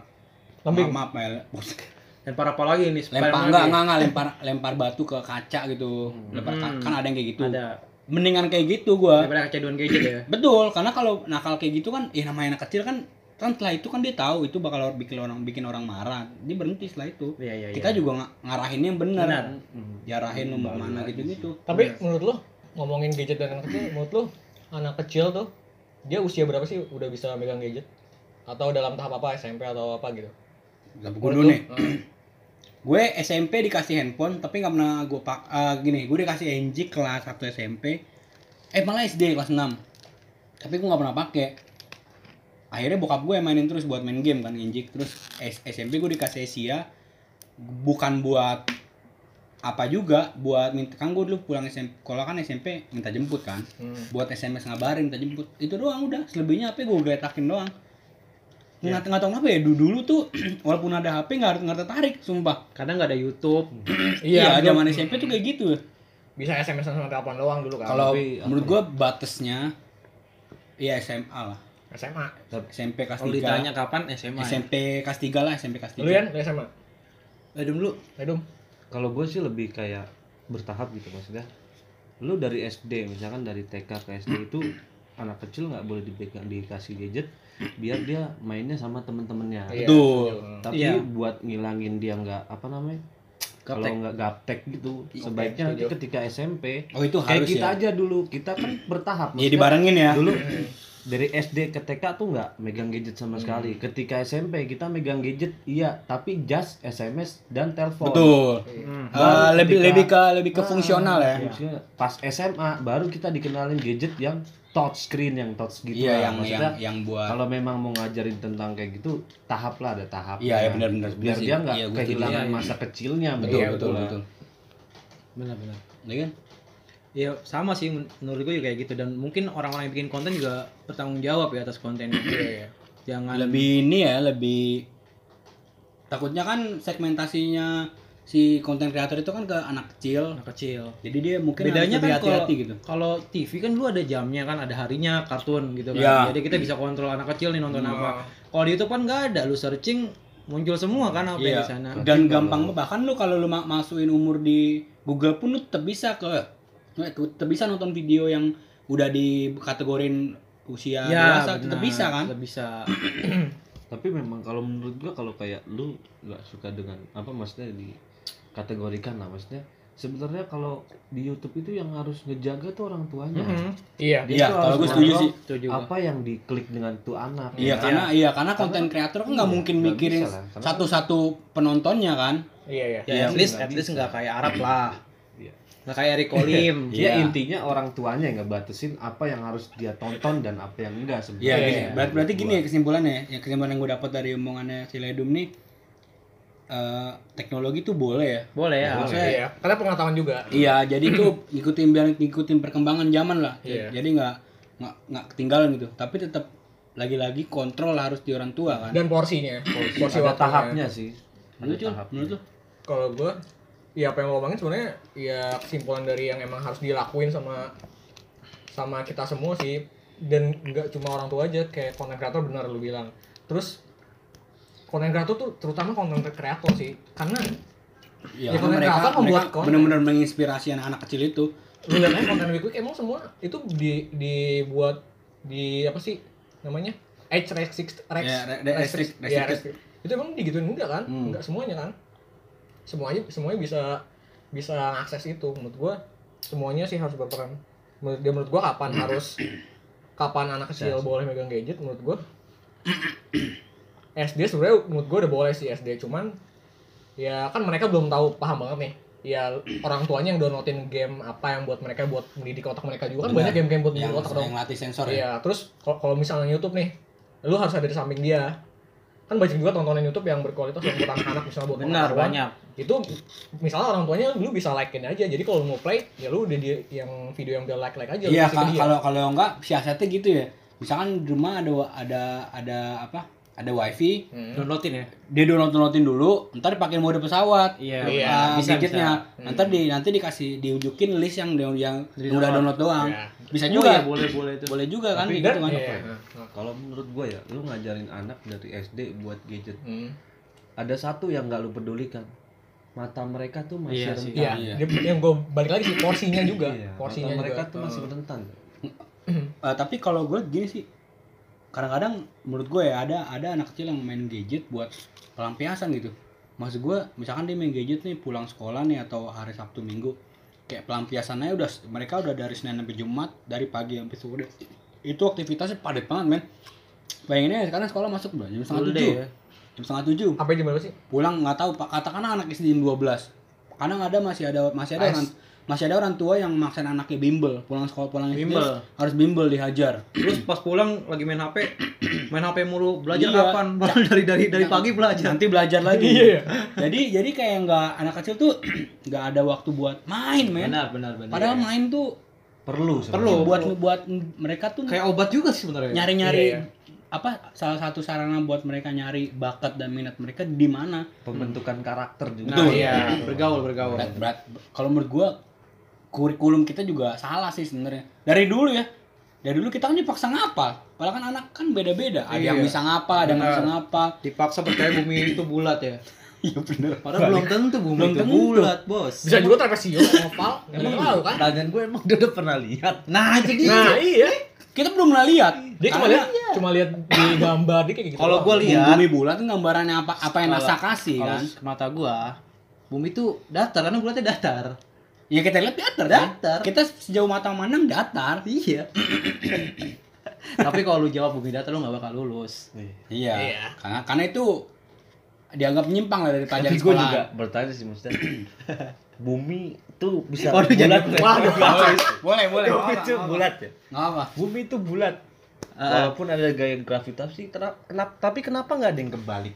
Lembing.
maaf, maaf ya, le-
[LAUGHS] dan para apa lagi ini
lempar
Spiderman gitu ya.
enggak
nih.
enggak
[LAUGHS]
enggak lempar lempar batu ke kaca gitu lempar ka-
Hmm.
kan ada yang kayak gitu
ada
mendingan kayak gitu gua
daripada kecanduan gadget ya
betul karena kalau nakal kayak gitu kan ya namanya anak kecil kan kan setelah itu kan dia tahu itu bakal bikin orang bikin orang marah dia berhenti setelah itu
iya iya iya
kita juga nga- ngarahinnya yang benar
Benar. Hmm,
Mm.
jarahin lu mau
Baru
mana
lagi
gitu gitu
Tapi
Benar.
menurut lo ngomongin gadget dan anak kecil, menurut lo anak kecil tuh dia usia berapa sih udah bisa megang gadget? Atau dalam tahap apa SMP atau apa gitu?
tapi gue
Menurut
dulu
lo,
nih
eh,
gue SMP dikasih handphone tapi nggak pernah gue pak eh, gini gue dikasih NG kelas 1 SMP eh malah SD kelas 6 tapi gue nggak pernah pakai akhirnya bokap gue yang mainin terus buat main game kan NG terus S- SMP gue dikasih Asia bukan buat apa juga buat minta kan gue dulu pulang SMP kalau kan SMP minta jemput kan
hmm.
buat SMS ngabarin minta jemput itu doang udah selebihnya HP gue geletakin doang nggak nggak tahu kenapa ya dulu, dulu tuh [CLEARS THROAT] walaupun ada HP nggak nggak tertarik sumpah
kadang nggak ada YouTube
iya
belum.
zaman SMP tuh kayak gitu
bisa SMS sama telepon doang dulu kan.
kalau
tapi apa
menurut gua batasnya ya SMA lah
SMA.
Tapi-
SMP kelas
kalau
3
ditanya kapan SMA ya?
SMP kelas 3 lah SMP kelas 3
Lu Yan, lu SMA.
Eh, dulu
Edum.
kalau gue sih lebih kayak bertahap gitu maksudnya lu dari SD misalkan dari TK ke SD itu [CLEARS THROAT] anak kecil nggak boleh dipegang dikasih gadget biar dia mainnya sama temen-temennya
Nah,
Iya,
Betul.
setuju. Hmm.
tapi
Iya.
buat ngilangin dia nggak apa namanya kalau
Gaptek.
nggak gaptek gitu sebaiknya nanti
setuju.
ketika SMP
oh itu
kayak
harus
kita
ya
aja dulu kita kan [CLEARS THROAT] bertahap
ya
Maksudnya,
dibarengin ya
dulu
Iya,
dari SD ke TK tuh nggak megang gadget sama sekali ketika SMP kita megang gadget iya tapi just SMS dan telepon
betul
Hmm.
Eh,
Baru
lebih
ketika- Ah,
lebih ke lebih ke fungsional ya
iya. Maksudnya pas SMA baru kita dikenalin gadget yang touch screen yang touch gitu
iya
lah.
yang yang
Maksudnya,
yang buat
kalau memang mau ngajarin tentang kayak gitu tahap lah ada tahap
Iya, iya, benar-benar.
biar
Sih.
dia nggak
Iya, gua setuju.
kehilangan
Iya, iya.
masa kecilnya
betul
Iya,
betul
lah.
betul
benar-benar
Iya kan
Ya sama sih men- menurut gue juga kayak gitu dan mungkin orang-orang yang bikin konten juga bertanggung jawab ya atas kontennya.
Iya, iya.
Nah,
Jangan
lebih
iya.
ini ya lebih takutnya kan segmentasinya si konten kreator itu kan ke anak kecil
anak kecil.
jadi dia mungkin harus lebih
Bedanya kan kalau
hati-hati gitu
kalau TV kan lu ada jamnya kan, ada harinya kartun gitu kan.
Iya.
Jadi kita bisa kontrol anak kecil nih nonton
Hmm.
apa. Kalau di YouTube kan nggak ada, lu searching muncul semua kan apa
Iya.
yang di sana.
dan
Berarti
gampang bahkan lu kalau lu ma- masukin umur di Google pun lu tetap bisa ke tetap bisa nonton video yang udah dikategorin usia
Ya,
dewasa tetap
benar.
bisa kan
Tetap bisa.
tapi memang kalau menurut gua kalau kayak lu nggak suka dengan apa maksudnya dikategorikan lah maksudnya sebenarnya kalau di YouTube itu yang harus ngejaga tuh orang tuanya
Iya.
Dia
Iya,
tuh
kalau
harus
gua setuju
ngontrol
sih.
Setuju gua.
apa yang diklik dengan tuh anak
Iya
ya kan?
karena iya karena konten kreator kan nggak
Iya,
mungkin
nggak
mikirin
bisa lah, karena-
satu-satu penontonnya kan.
Iya iya.
Iya,
Ya, at least
nggak
at least
bisa.
nggak kayak Arab lah.
Iya.
Nggak kayak Eric Olim.
Iya.
Ya intinya orang tuanya yang ngebatasin apa yang harus dia tonton dan apa yang enggak sebenarnya.
Iya,
Iya,
gini.
iya.
Berarti, berarti
Gua.
gini ya kesimpulannya. Ya kesimpulan yang gue dapat dari omongannya si Ledum nih eh, teknologi tuh boleh ya.
Boleh ya.
Boleh.
Maksudnya
Iya. Karena pengetahuan juga.
iya, jadi tuh ngikutin biar ngikutin perkembangan zaman lah.
Iya.
Jadi nggak nggak nggak ketinggalan gitu. Tapi tetap lagi-lagi kontrol harus di orang tua kan.
dan porsinya porsi,
Ada
waktunya.
tahapnya sih. Ada
Menurut lu,
tahapnya.
menurut lu?
kalau gue ya apa yang lo omongin sebenarnya ya kesimpulan dari yang emang harus dilakuin sama sama kita semua sih dan nggak cuma orang tua aja kayak konten kreator benar lu bilang terus konten kreator tuh terutama konten kreator sih karena
Iya,
Ya,
karena
konten
mereka,
kreator membuat
mereka
konten.
benar-benar menginspirasi anak-anak kecil itu.
lu lihat aja konten week week emang semua itu di dibuat di apa sih namanya age restrict rex,
Ya, re- re- restrict-
ya,
restricted.
restrict. itu emang digituin enggak kan
Hmm.
enggak semuanya kan semuanya semuanya bisa bisa akses itu menurut gua semuanya sih harus berperan menurut dia menurut gua
[COUGHS]
kapan harus kapan anak
Ya,
kecil boleh megang gadget menurut gua [COUGHS] SD sebenarnya menurut gua udah boleh sih SD cuman ya kan mereka belum tahu paham banget nih ya orang tuanya yang downloadin game apa yang buat mereka buat mendidik otak mereka juga kan
Benar.
banyak game-game buat
Iya. Yang,
mendidik otak dong
yang latih sensor ya.
Iya, terus kalau kalau misalnya YouTube nih, lu harus ada di samping dia. Kan banyak juga tontonan YouTube yang berkualitas yang buat anak-anak misalnya buat
Benar
pengetahuan.
banyak.
Itu misalnya orang tuanya lu bisa like-in aja. Jadi kalau lu mau play, ya lu udah di yang video yang udah like-like aja lu
Iya
kasih ke
ka-
dia.
kalau kalau enggak siasatnya gitu ya. Misalkan di rumah ada wa- ada ada apa? Ada wifi,
Hmm.
Downloadin ya.
dia download downloadin dulu, ntar dipakai mode pesawat.
Iya.
Iya,
Ah,
bisa,
gadgetnya.
bisa.
Ntar di nanti dikasih diunjukin list yang yang, yang
Jadi
udah
download.
download doang.
Iya.
Oh,
Bisa
Bisa juga.
juga.
boleh boleh itu.
Boleh juga kan
iya. Tapi
kayak
dan-
kan gitu kan.
Iya. Nah,
Kalau menurut gua ya, lu ngajarin anak dari SD buat gadget.
hmm.
Ada satu yang nggak lu pedulikan. Mata mereka tuh masih
Iya
rentan.
sih.
Iya,
Iya.
dia- yang gue balik lagi sih porsinya juga,
Iya,
porsinya
mata mereka
juga. Oh.
tuh masih rentan.
Eh, tapi kalau gue gini sih kadang-kadang menurut gue ya ada ada anak kecil yang main gadget buat pelampiasan gitu maksud gue misalkan dia main gadget nih pulang sekolah nih atau hari sabtu minggu kayak pelampiasannya udah mereka udah dari senin sampai jumat dari pagi sampai sore itu aktivitasnya padat banget men bayanginnya sekarang sekolah masuk berapa? jam setengah
Full
tujuh
day ya.
jam setengah tujuh
Hmm. Apa yang gimana sih?
pulang nggak tahu pak katakanlah anak SD jam 12 kadang ada masih ada masih ada
Ais.
orang masih ada orang tua yang maksain anaknya bimbel pulang sekolah pulang SD
Bimbel.
harus bimbel dihajar
Terus pas pulang lagi main HP, [CLEARS THROAT] main HP mulu belajar
Iya.
kapan? [LAUGHS] Baru dari dari dari
Nah,
pagi belajar.
nanti belajar lagi
[LAUGHS] Iya.
jadi jadi kayak nggak anak kecil tuh [CLEARS THROAT] nggak ada waktu buat main men
benar benar.
padahal main tuh
Perlu
Perlu.
sebenarnya.
buat buat mereka tuh
kayak obat juga sih sebenarnya.
nyari nyari
Iya.
apa salah satu sarana buat mereka nyari bakat dan minat mereka di mana
pembentukan karakter juga.
Nah,
Betul.
iya, bergaul bergaul.
berat berat kalau menurut gua kurikulum kita juga salah sih sebenarnya dari dulu ya dari dulu kita kan dipaksa ngapal padahal kan anak kan beda beda ada yang
Iya.
bisa ngapa ada yang nggak bisa
Benar.
ngapa
Dipaksa percaya bumi itu bulat ya.
iya bener
Padahal belum tentu bumi
Belum
itu
tentu.
bulat, Bos.
Bisa juga trapesium, oval, emang tahu
gitu?
kan?
Tangan gue
[LAUGHS]
emang udah pernah lihat.
Nah, itu dia.
Nah, iya.
kita belum pernah lihat
Dia cuma
Karena
lihat cuma lihat di gambar dia kayak gitu.
Kalau
doang.
gua lihat
bumi bulat itu gambarannya apa apa yang NASA
Iya. Kalau-
kasih
kalau
kan
ke mata gua, bumi itu datar karena bulatnya datar.
ya kita lihat datar kan?
Datar.
kita sejauh mata memandang datar
Iya. Tapi kalau lu jawab bumi datar lu gak bakal lulus.
iya
Iya.
karena karena itu dianggap menyimpang lah dari pelajaran
Tapi gue
sekolah
juga bertanya sih maksudnya. bumi tuh bisa
Waduh, jangan
bulat. Waduh,
boleh boleh
[LAUGHS] bumi tuh bulat ya.
nggak apa
Bumi itu bulat.
Ah.
Walaupun ada gaya gravitasi, kenapa, tapi kenapa nggak ada yang kebalik?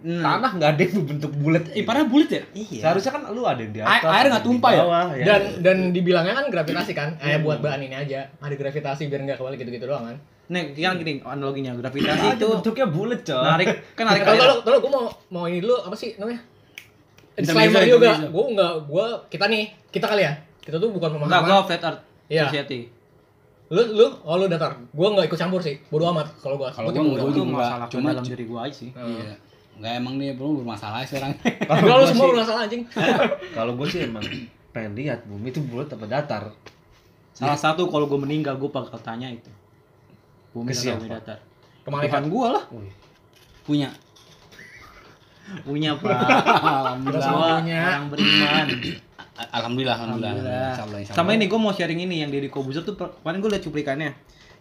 Nah,
Tanah nggak ada yang berbentuk bulat.
Ih, padahal bulat ya
Hmm. Iya. Seharusnya kan lu ada yang di
Air-
atas.
air nggak
ada di
tumpah ya?
bawah,
dan dan dibilangnya kan gravitasi kan
Hmm.
eh buat bahan ini aja ada gravitasi biar nggak kebalik gitu gitu doang kan
nih kan gini analoginya
Nah,
gravitasi
itu
itu
bentuknya bulat, coy.
narik kan narik
[LAUGHS] kalau
air.
kalau kalau gue mau mau ini dulu apa sih namanya
Intermezzo,
disclaimer juga
intermezzo.
gue nggak gue kita nih kita kali ya kita tuh bukan
Enggak, gua
pemahaman
flat earth
Iya.
society.
lu lu oh lu datar gue nggak ikut campur sih bodo amat kalau gue
Kalau gua
Gua
Gua
itu
juga
masalah
nggak,
ke
cuma-
dalam diri gua aja sih.
iya nggak emang nih belum bermasalah sekarang
Nah. Enggak lu semua bermasalah anjing.
Kalau gue sih emang pengen lihat bumi itu bulat apa datar.
Salah satu kalau gua meninggal gua bakal tanya itu. Bumi
Ke
datar,
siapa?
bumi datar.
Kemarin
Bukan gua lah.
Wih,
Punya.
Punya pak.
[LAUGHS] Alhamdulillah.
Semua orang beriman.
Alhamdulillah, alhamdulillah.
Alhamdulillah.
Insya Allah, insya
Sama
Allah.
ini gue mau sharing ini yang Deddy Kobuzer tuh per- kemarin gue liat cuplikannya.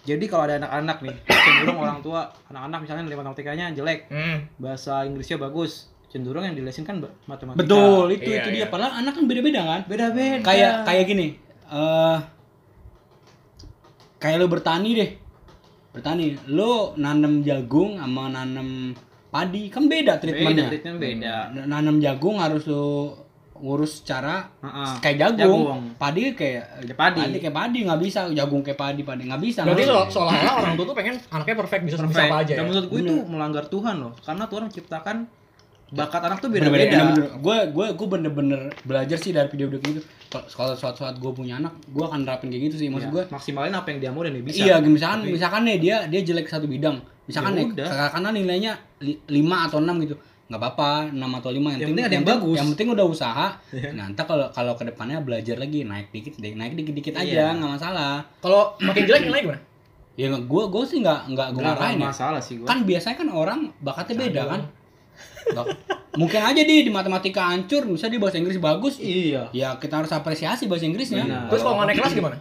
Jadi kalau ada anak-anak nih, [CLEARS THROAT] cenderung orang tua anak-anak misalnya nilai matematikanya jelek,
Hmm.
bahasa Inggrisnya bagus, cenderung yang dilesin kan ba- matematika.
Betul, itu
Iya,
itu
iya.
dia. Padahal anak kan beda-beda kan.
Beda-beda.
Kayak kayak gini. eh kayak lo bertani deh. Bertani. Lo nanam jagung sama nanam padi kan beda
beda,
treatmentnya. Hmm. Nah,
treatment beda.
Nanam jagung harus lo ngurus secara
Heeh.
kayak jagung.
Ah, Jagung.
Padi kayak
Kayak padi.
kayak padi nggak bisa jagung kayak padi padi nggak bisa.
Berarti
Harus-
so- seolah-olah orang tua tuh pengen anaknya perfect bisa bisa
Perfect.
apa aja ya.
Dan menurut gue itu melanggar Tuhan loh, karena Tuhan menciptakan
Iya.
bakat anak tuh
beda-beda.
beda-beda.
Gue gue gue bener-bener belajar sih dari video-video kayak gitu. Kalau- Kalau suatu saat gue punya anak, gue akan nerapin kayak gitu sih. Maksud
Ya,
gue
maksimalin apa yang dia mau dan dia bisa.
Iya, misalkan misalkan nih dia dia jelek satu bidang. Misalkan
Ya
nih
udah.
karena nilainya 5 atau 6 gitu. nggak apa-apa, 6 atau 5 yang,
Yang penting ada yang bagus. Iya.
Yang penting udah usaha. Nanti kalau kalau kedepannya belajar lagi naik dikit deh, naik dikit-dikit aja,
Iya.
nggak masalah.
Kalau makin jelek nilai gimana?
Ya gue gue sih nggak nggak gue
Nggak
marahin ya.
masalah sih gue.
Kan biasanya kan orang bakatnya beda
Jago.
kan. Nggak- Mungkin aja dia di matematika hancur, bisa di bahasa Inggris bagus.
iya.
Ya kita harus apresiasi bahasa Inggrisnya.
Benar.
Terus kalau nggak naik kelas gimana?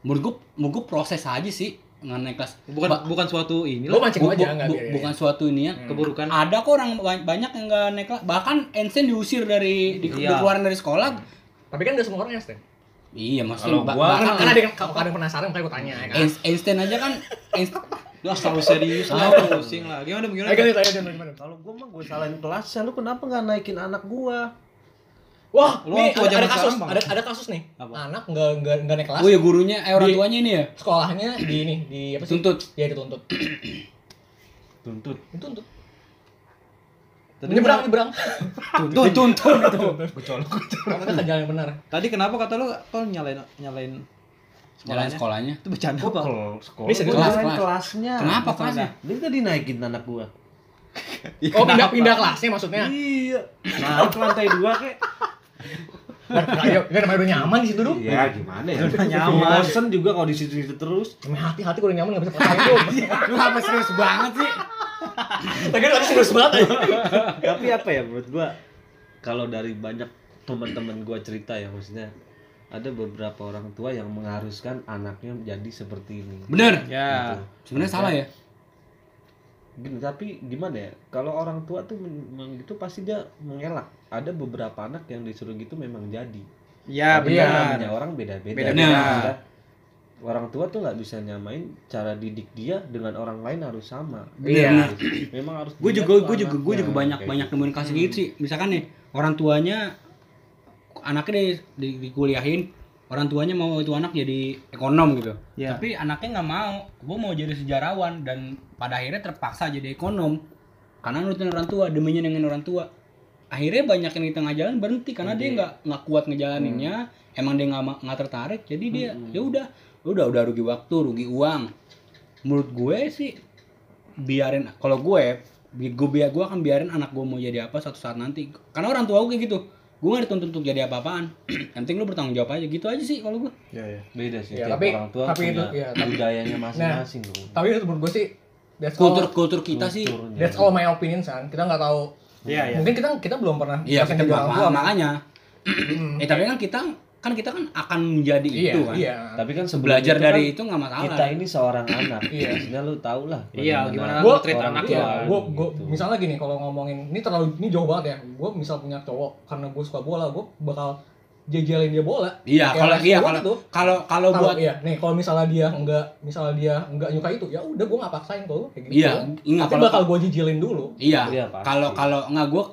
Menurut gue, menurut gue proses aja sih nggak naik kelas.
Bukan
Ba-
bukan suatu ini
Lo
loh,
mancing
Bu-
aja
bu-
nggak
bu-
biar ya.
bukan suatu ini ya.
keburukan.
Ada kok orang ba- banyak yang nggak naik kelas. Bahkan Einstein diusir dari di,
Iya.
dikeluarin dari sekolah.
Tapi kan udah semua orang Einstein.
Iya maksudnya.
Kalau
ba-
gua-
bahkan
Kan kan ada yang kalau ada yang penasaran makanya gue tanya ya kan.
Ein- Einstein aja kan Einstein-
Lah terlalu serius
Ah.
lah, pusing lah. Gimana gimana?
Ayo kita tanya Jon, gimana?
Kalau gua mah gua salahin kelasnya, lu kenapa nggak naikin anak gua?
Wah,
Lu
nih
orang tua
ada,
zaman
ada kasus,
sekarang, Bang.
ada ada kasus nih.
Apa?
Anak nggak nggak nggak naik kelas.
Oh ya gurunya eh orang
Di-
tuanya ini ya.
Sekolahnya di ini di apa sih?
Tuntut.
Iya dituntut.
Tuntut.
Dituntut.
Tadi
Nyebrang, nyebrang.
Tuntun tuntun itu.
Kecolok, kecolok. Kan jalan yang benar.
Tadi kenapa kata lu kok nyalain nyalain
Jalan sekolahnya.
Itu bercanda apa?
Kalau sekolah
Ini serius.
gua
Kelas,
salahin
kelas.
kelasnya.
Kenapa kelasnya?
Dia tadi naikin anak gua.
Iya,
Oh,
[LAUGHS] Ya.
pindah pindah kelasnya maksudnya.
Iya. Nah, ke lantai dua kek.
Nah, Ayo, kan namanya udah nyaman di situ dulu.
Iya, gimana ya?
Nyaman.
Bosen juga kalau di situ-situ terus.
Cuma hati-hati kalau udah nyaman nggak bisa percaya tuh.
Lu apa serius banget sih?
Lagi lagi serius banget aja.
Tapi apa ya menurut gua kalau dari banyak teman-teman gua cerita ya maksudnya ada beberapa orang tua yang mengharuskan anaknya jadi seperti ini.
Bener.
Ya.
Gitu.
Sebenarnya salah ya.
Gini, tapi gimana ya? Kalau orang tua tuh men- men- gitu pasti dia mengelak. Ada beberapa anak yang disuruh gitu memang jadi.
Iya,
Ya
Tapi kan namanya
benar.
orang beda-beda.
Beda-beda.
Maksudnya, Orang tua tuh nggak bisa nyamain cara didik dia dengan orang lain harus sama.
Iya.
Harus- Memang harus.
gue
dilihat
juga
tuh
gue juga gue juga
anaknya.
banyak
Kayak
banyak
gitu.
nemuin kasus gitu sih misalkan nih orang tuanya anaknya di, di, dikuliahin orang tuanya mau itu anak jadi ekonom gitu
Iya.
tapi anaknya nggak mau gue mau jadi sejarawan dan pada akhirnya terpaksa jadi ekonom karena nurutin orang tua deminya dengan orang tua akhirnya banyak yang di tengah jalan berhenti karena
Iya.
dia nggak nggak kuat ngejalaninnya emang dia nggak ma- nggak tertarik jadi dia ya udah udah udah rugi waktu rugi uang menurut gue sih biarin kalau gue gue biar gue akan biarin anak gue mau jadi apa suatu saat nanti karena orang tua gue kayak gitu gue gak dituntut untuk jadi apa-apaan [CLEARS THROAT] yang penting lu bertanggung jawab aja gitu aja sih kalau gue
Iya, iya.
Beda sih.
Ya,
tiap
tapi-
orang tua
tapi
punya
itu- ya, tapi-
budayanya masing-masing loh.
Tapi itu menurut gue sih that's all-
kultur kultur kita sih
Kulturnya.
That's all my opinion, San. Kita nggak tahu.
Iya iya.
Mungkin kita kita belum pernah
iya
ngerasain
kita
jadi
juga
orang
paham,
tua.
makanya
Mm.
eh tapi kan kita kan kita kan akan menjadi
Iya,
itu kan
iya.
Tapi kan sebelum
belajar
itu
dari
kan
itu nggak masalah
kita ini seorang anak.
Iya.
Maksudnya lu tau lah.
Iya, gimana
Gua-
treat
orang
anak
tua.
ya.
Iya, gue gue
gitu.
misalnya gini kalau ngomongin ini terlalu ini jauh banget ya. Gue misal punya cowok karena gue suka bola, gue bakal jajalin dia bola.
iya
Kayak
kalau
orang
iya
tua
kalau
gitu.
kalau kalau
Kalau-
buat
iya, nih kalau misalnya dia enggak misalnya dia enggak nyuka itu, ya udah gue nggak paksain kalau lu kayak gitu.
iya nggak
Tapi
kalau
bakal gue jijilin dulu.
iya
Iya, pasti.
kalau kalau nggak gue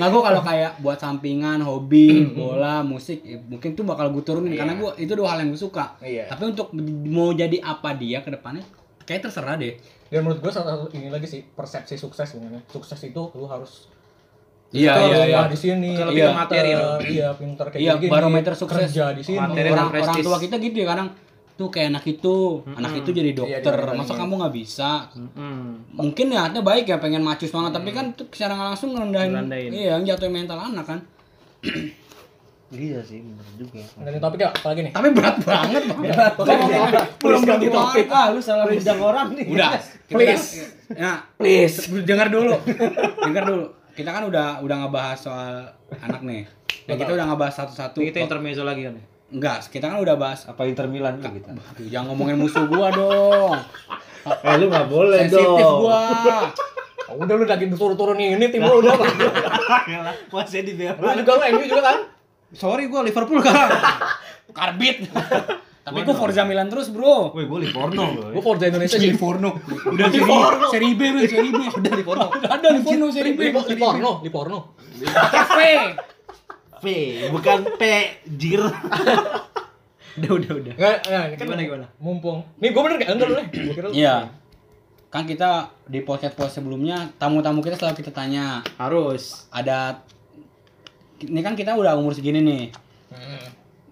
nggak gue kalau kayak buat sampingan hobi bola musik ya mungkin tuh bakal gue turunin karena
Iya.
gue itu dua hal yang gue suka
Iya.
tapi untuk mau jadi apa dia ke depannya kayak terserah deh
Dan menurut gue salah satu ini lagi sih persepsi sukses sebenarnya. Sukses itu lu harus
iya
Kita
iya
harus
iya
sekolah di sini.
Kita
lebih ke
pinter,
materi loh.
Iya, pinter kayak
Iya,
gini-gini,
barometer sukses.
Kerja di sini.
Materi dan
orang
prestis.
orang tua kita gitu ya kadang tuh kayak anak itu anak itu jadi dokter
dibandingin.
masa kamu nggak bisa
Hmm.
mungkin niatnya baik ya pengen macus banget tapi kan tuh secara nggak langsung ngerendahin
Ngerendahin.
iya yang jatuhin mental anak kan
Iya sih, bener juga.
Ganti topik ya, apalagi
[LAUGHS]
nih?
Tapi berat banget, Bang.
Berat
[LAUGHS]
banget. Belum ganti topik.
Ah, lu salah bidang orang nih. [LAUGHS]
Udah. kita-
Please.
Nah,
Please.
dengar dulu. dengar dulu. Kita kan udah udah ngebahas soal anak nih. Dan kita udah ngebahas satu-satu.
Ini kita intermezzo lagi kan. ya?
Enggak, kita kan udah bahas
Apa Inter Milan lu gitu? kita?
Aduh, jangan ngomongin musuh gua dong.
Eh, lu nggak boleh
Sensitif gua.
Oh, udah lu lagi turun-turun nih, ini tim lu udah.
Ah, Masih di
Lu juga lu MU juga kan?
Sorry gua Liverpool kan.
[LAUGHS]
Karbit. Tapi gua Forza Milan terus, Bro.
Woi, gue Livorno
Iya,
loh.
Gua Forza Indonesia sih.
Livorno. Udah seri, seri B, Bro, seri B. Udah Livorno. Udah ada Livorno seri B.
Di di porno, di porno.
F.
P, bukan P, jir.
[LAUGHS] Udah udah udah.
Enggak, enggak, ini kan
Gimana, gimana?
Mumpung. Nih gua bener enggak? Enggak lu deh. Gua kira lu.
Iya. Kan kita di podcast-podcast sebelumnya tamu-tamu kita selalu kita tanya
Harus.
ada ini kan kita udah umur segini nih
Hmm.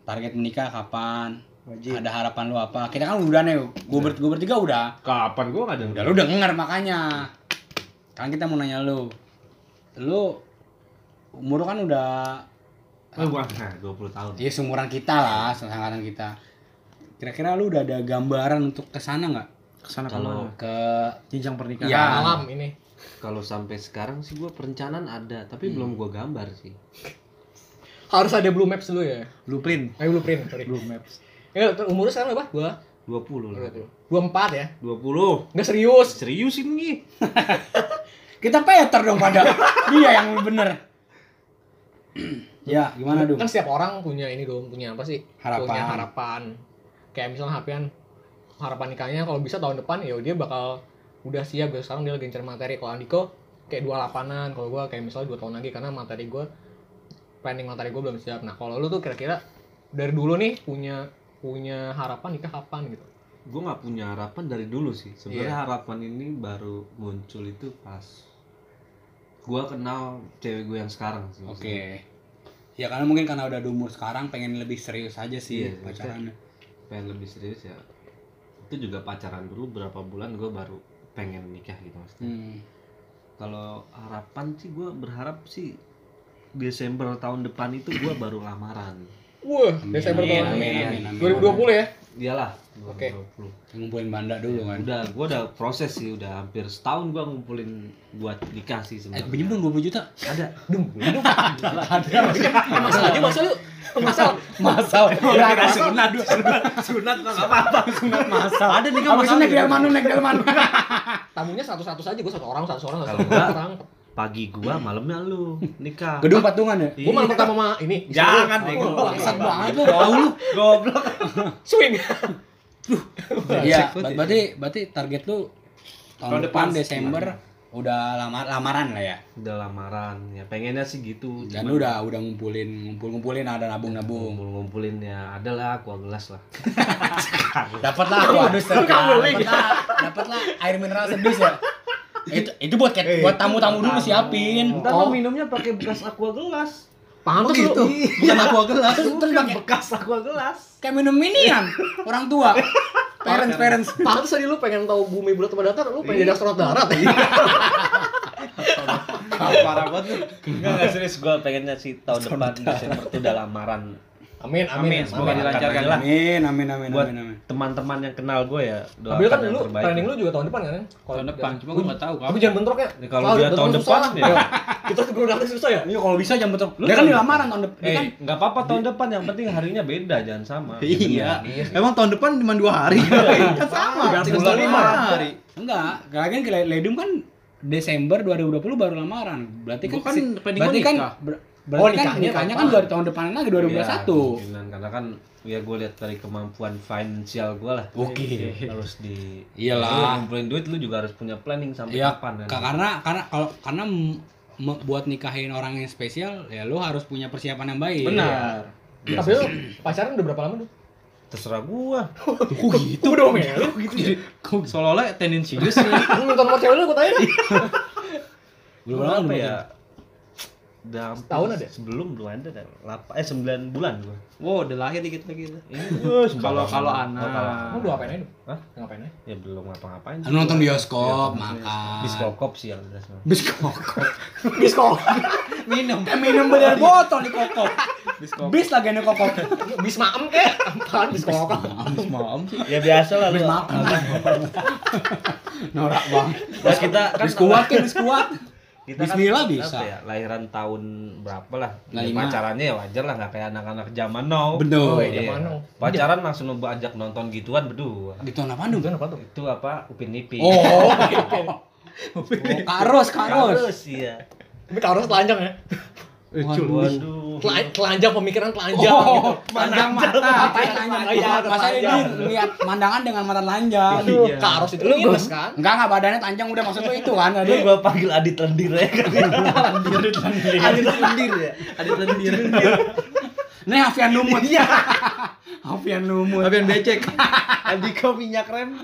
target menikah kapan
Iya.
Wajib.
ada harapan lu apa kita kan udah nih gue ber, gua bertiga udah
Kapan gua nggak ada
udah lu denger makanya kan kita mau nanya lu lu umur lu kan udah
Lu
Ah.
gua nah, 20 tahun.
Iya.
ya seumuran kita lah seangkatan kita kira-kira lu udah ada gambaran untuk kesana nggak
Kesana
Kalau
kemana?
ke
Jenjang pernikahan.
Ya.
Malam ini.
kalau sampai sekarang sih gua perencanaan ada,
Hmm.
tapi belum gua gambar sih.
Harus ada blue maps dulu ya.
Blueprint.
Eh blueprint, sorry.
Blue maps.
Ya, umurnya sekarang berapa? Gua
20 lah.
24 ya.
20.
Enggak serius.
Serius ini.
kita peter dong pada dia yang bener ya gimana dong
[LAUGHS]
Kan setiap orang punya ini dong, punya apa sih?
Harapan.
Punya harapan. Kayak misalnya harapan harapan nikahnya kalau bisa tahun depan ya dia bakal udah siap gitu. Sekarang dia lagi ngincer materi. Kalau Andiko kayak 28-an, kalau gua kayak misalnya 2 tahun lagi karena materi gua planning materi gua belum siap. Nah, kalau lu tuh kira-kira dari dulu nih punya punya harapan nikah kapan gitu.
Gua nggak punya harapan dari dulu sih.
Iya.
Sebenarnya harapan ini baru muncul itu pas gua kenal cewek gua yang sekarang sih.
Oke. Ya karena mungkin karena udah di umur sekarang pengen lebih serius aja sih
Iya,
pacarannya.
pengen lebih serius ya itu juga pacaran dulu berapa bulan gue baru pengen nikah gitu maksudnya
Hmm.
kalau harapan sih gue berharap sih Desember tahun depan itu gue baru lamaran
Wah, Desember
Amin,
tahun
amin, amin, amin.
2020 ya.
iyalah
Oke.
2020.
Ngumpulin banda dulu kan.
udah gue udah proses sih udah hampir setahun gue ngumpulin buat nikah sih
Eh, pinjem
sebenarnya
dong 20 juta.
ada
Dong, pinjem dong. Ada.
Masa aja masa lu masa
Masal. Ya kan sunat
[LAUGHS]
dua.
sunat nggak apa-apa
Sunat masal.
Ada nikah
Habis itu
masal
naik
juga.
delmanu naik delmanu.
tamunya satu-satu saja gua satu orang satu orang satu
Kalau enggak-
orang.
pagi gue malamnya lu nikah
Gedung patungan ya.
Gua malah pertama sama ini.
jangan deh
Oh, bangsat banget lu.
Tahu lu.
goblok
Swing.
Iya, ber- berarti berarti target lu
Tahun
tahun depan
depan.
Desember udah lamar lamaran lah ya.
udah lamaran ya pengennya sih gitu
Dan
Cuman-
lu udah udah ngumpulin ngumpul-ngumpulin ada nabung-nabung.
ngumpul ngumpulin ya adalah aqua gelas lah
Dapat lah aku adus Dapat lah, dapat lah air mineral sedus ya. Itu itu buat cat- buat Eh, tamu-tamu dulu siapin.
Ntar
Oh.
lo minumnya pakai bekas aqua gelas
Pantes
Begitu.
lu.
Bukan aku gelas, terus pakai
bekas aqua gelas
kayak minum minian orang [LAUGHS] tua. Parents parents.
Pantes tadi lu pengen tahu bumi bulat atau datar, lu pengen jadi astronot darat.
Parah banget.
enggak enggak serius gue pengennya sih tahun depan Desember tuh udah lamaran
Amin, amin.
Amin, semoga
amin.
dilancarkan.
Amin.
Amin amin amin
buat
amin amin.
teman-teman yang kenal gue ya
Tapi
doakan
kan
yang
lu
terbaik
planning lu juga tahun depan kan? Kalau
Tahun depan, cuma gua nggak tahu
Tapi
kapan.
jangan bentrok ya.
Ya, kalau
Soalnya
dia tahun
bentrok susah.
depan, ya.
[LAUGHS] Kita ke Brodaknya susah ya?
Iya kalau bisa jam betul. Dia kan di lamaran tahun depan.
Eh,
Dia kan
nggak apa-apa tahun depan yang penting harinya beda jangan sama. ya,
Iya. Emang tahun depan cuma dua hari. kan
tiga
sama. Tiga
bulan
lima
lama.
hari.
enggak. Lagian ke Ledum kan Desember 2020 baru lamaran. Berarti kan
Bukan,
si-
pending
berarti
gua
kan
nikah.
ber-
Oh,
berarti kan
nikahnya
nikahnya kan
kapan?
dari tahun depan lagi 2021.
kemungkinan. karena kan ya gue lihat dari kemampuan finansial gue lah. Iya,
Oke.
Harus di Iya,
Iyalah.
Lu ngumpulin duit lu juga harus punya planning sampai
Iya,
kapan kan?
ka- karena karena kalau karena m- me- buat nikahin orang yang spesial ya lu harus punya persiapan yang baik.
Benar.
Tapi lu pacaran udah berapa lama tuh?
Terserah gua.
Kok gitu
Udah melin.
gitu.
Seolah-olah tendensius sih.
ya? Lu minta nomor cewek lu gua tanya dah.
Belum
Gua
lama
apa
belum
ya? Udah hampir
Setahun ada?
Sebelum belum ada dah. Lapa, eh 9 bulan gua.
[LAUGHS] Wow, udah lahir dikit lagi.
Iya. Kalau
Kalau
Lu
anak.
udah ngapain aja? dulu?
Hah?
Ngapain aja?
ya belum ngapa-ngapain.
Lu nonton bioskop,
Iya,
makan.
Biskokop sih yang jelas.
Biskop.
Biskok.
Minum. minum bener botol di kokop.
Biskop.
Bis lagi nih kokok.
bis maem kek apaan bis kokok
Abis malam sih.
ya biasa lah lu
Bis
[LAUGHS]
makan. Norak bang.
Terus kita kan
Bis kuat kan bis kuat.
kita
Bismillah
apa
bisa.
ya, lahiran tahun berapa lah
Nah,
Ya,
lima.
pacarannya ya wajar lah nggak kayak anak-anak zaman now
Bener.
Iya.
Zaman now.
pacaran langsung lu ajak nonton gituan berdua
Gitu apaan dong?
apa tuh
itu apa upin ipin
Oh. Karos, karos.
harus iya
tapi harus telanjang ya
Waduh.
waduh
Telan- telanjang pemikiran telanjang
Oh,
gitu.
pandang mata, matanya
Iya,
telanjang. Masa ini
telanjang.
lihat pandangan dengan mata telanjang.
Aduh, karos itu lu minus kan
Enggak, enggak badannya telanjang udah maksud lu itu kan
Lu
tadi.
gua panggil Adit Lendir
[LAUGHS]
ya kan.
Adit lendir ya. Adit lendir.
Nih Hafian Lumut. Iya. [LAUGHS] Hafian Lumut.
Abian becek.
Andika minyak rem.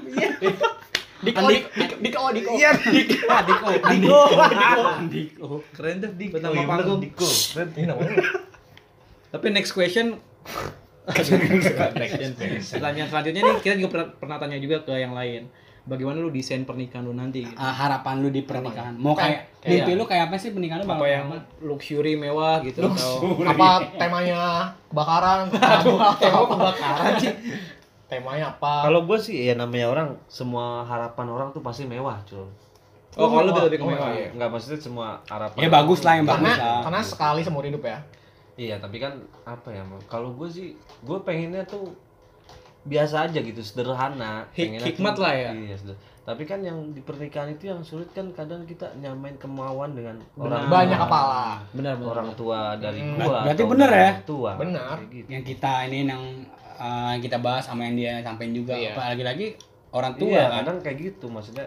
Diko,
Andi-
Diko, Diko, Diko.
Iya.
Ah, Diko.
Diko.
Diko.
Keren tuh di
Pertama
pertama
panggung.
panggung.
Diko.
Ini namanya.
Tapi next question pertanyaan selanjutnya nih kita juga pernah, pernah tanya juga ke yang lain. Bagaimana lu desain pernikahan lu nanti? Gitu?
Ah, harapan lu di pernikahan. Mau kayak
Kayak-
mimpi lu kayak apa sih pernikahan lu?
Apa
bakal
yang
Kan, iya. apa?
luxury mewah gitu atau
[LAUGHS]
Apa temanya kebakaran? [LAUGHS] Aduh, tema kebakaran sih. Temanya apa?
Kalau gua sih ya namanya orang semua harapan orang tuh pasti mewah, cuy.
Oh, kalau lu
Mewah.
lebih ke
Oh,
mewah
iya.
ya.
Enggak maksudnya semua harapan.
Ya bagus lah yang
Karena
bagus lah.
karena sekali seumur hidup ya.
Iya, tapi kan apa ya, Bang? Kalau gua sih gua pengennya tuh biasa aja gitu, sederhana.
Hik-
Pengennya tuh-
hikmat lah ya.
Iya, seder- Tapi kan yang di pernikahan itu yang sulit kan kadang kita nyamain kemauan dengan
Benar.
orang
Banyak
tua.
kepala.
Benar benar.
orang tua dari
Hmm.
gua.
Berarti
atau
bener ya?
orang Tua.
Benar.
Kayak gitu.
yang kita ini yang eh, yang kita bahas sama yang dia sampaikan juga
Iya.
apa lagi-lagi orang tua
iya,
kan
kadang kayak gitu maksudnya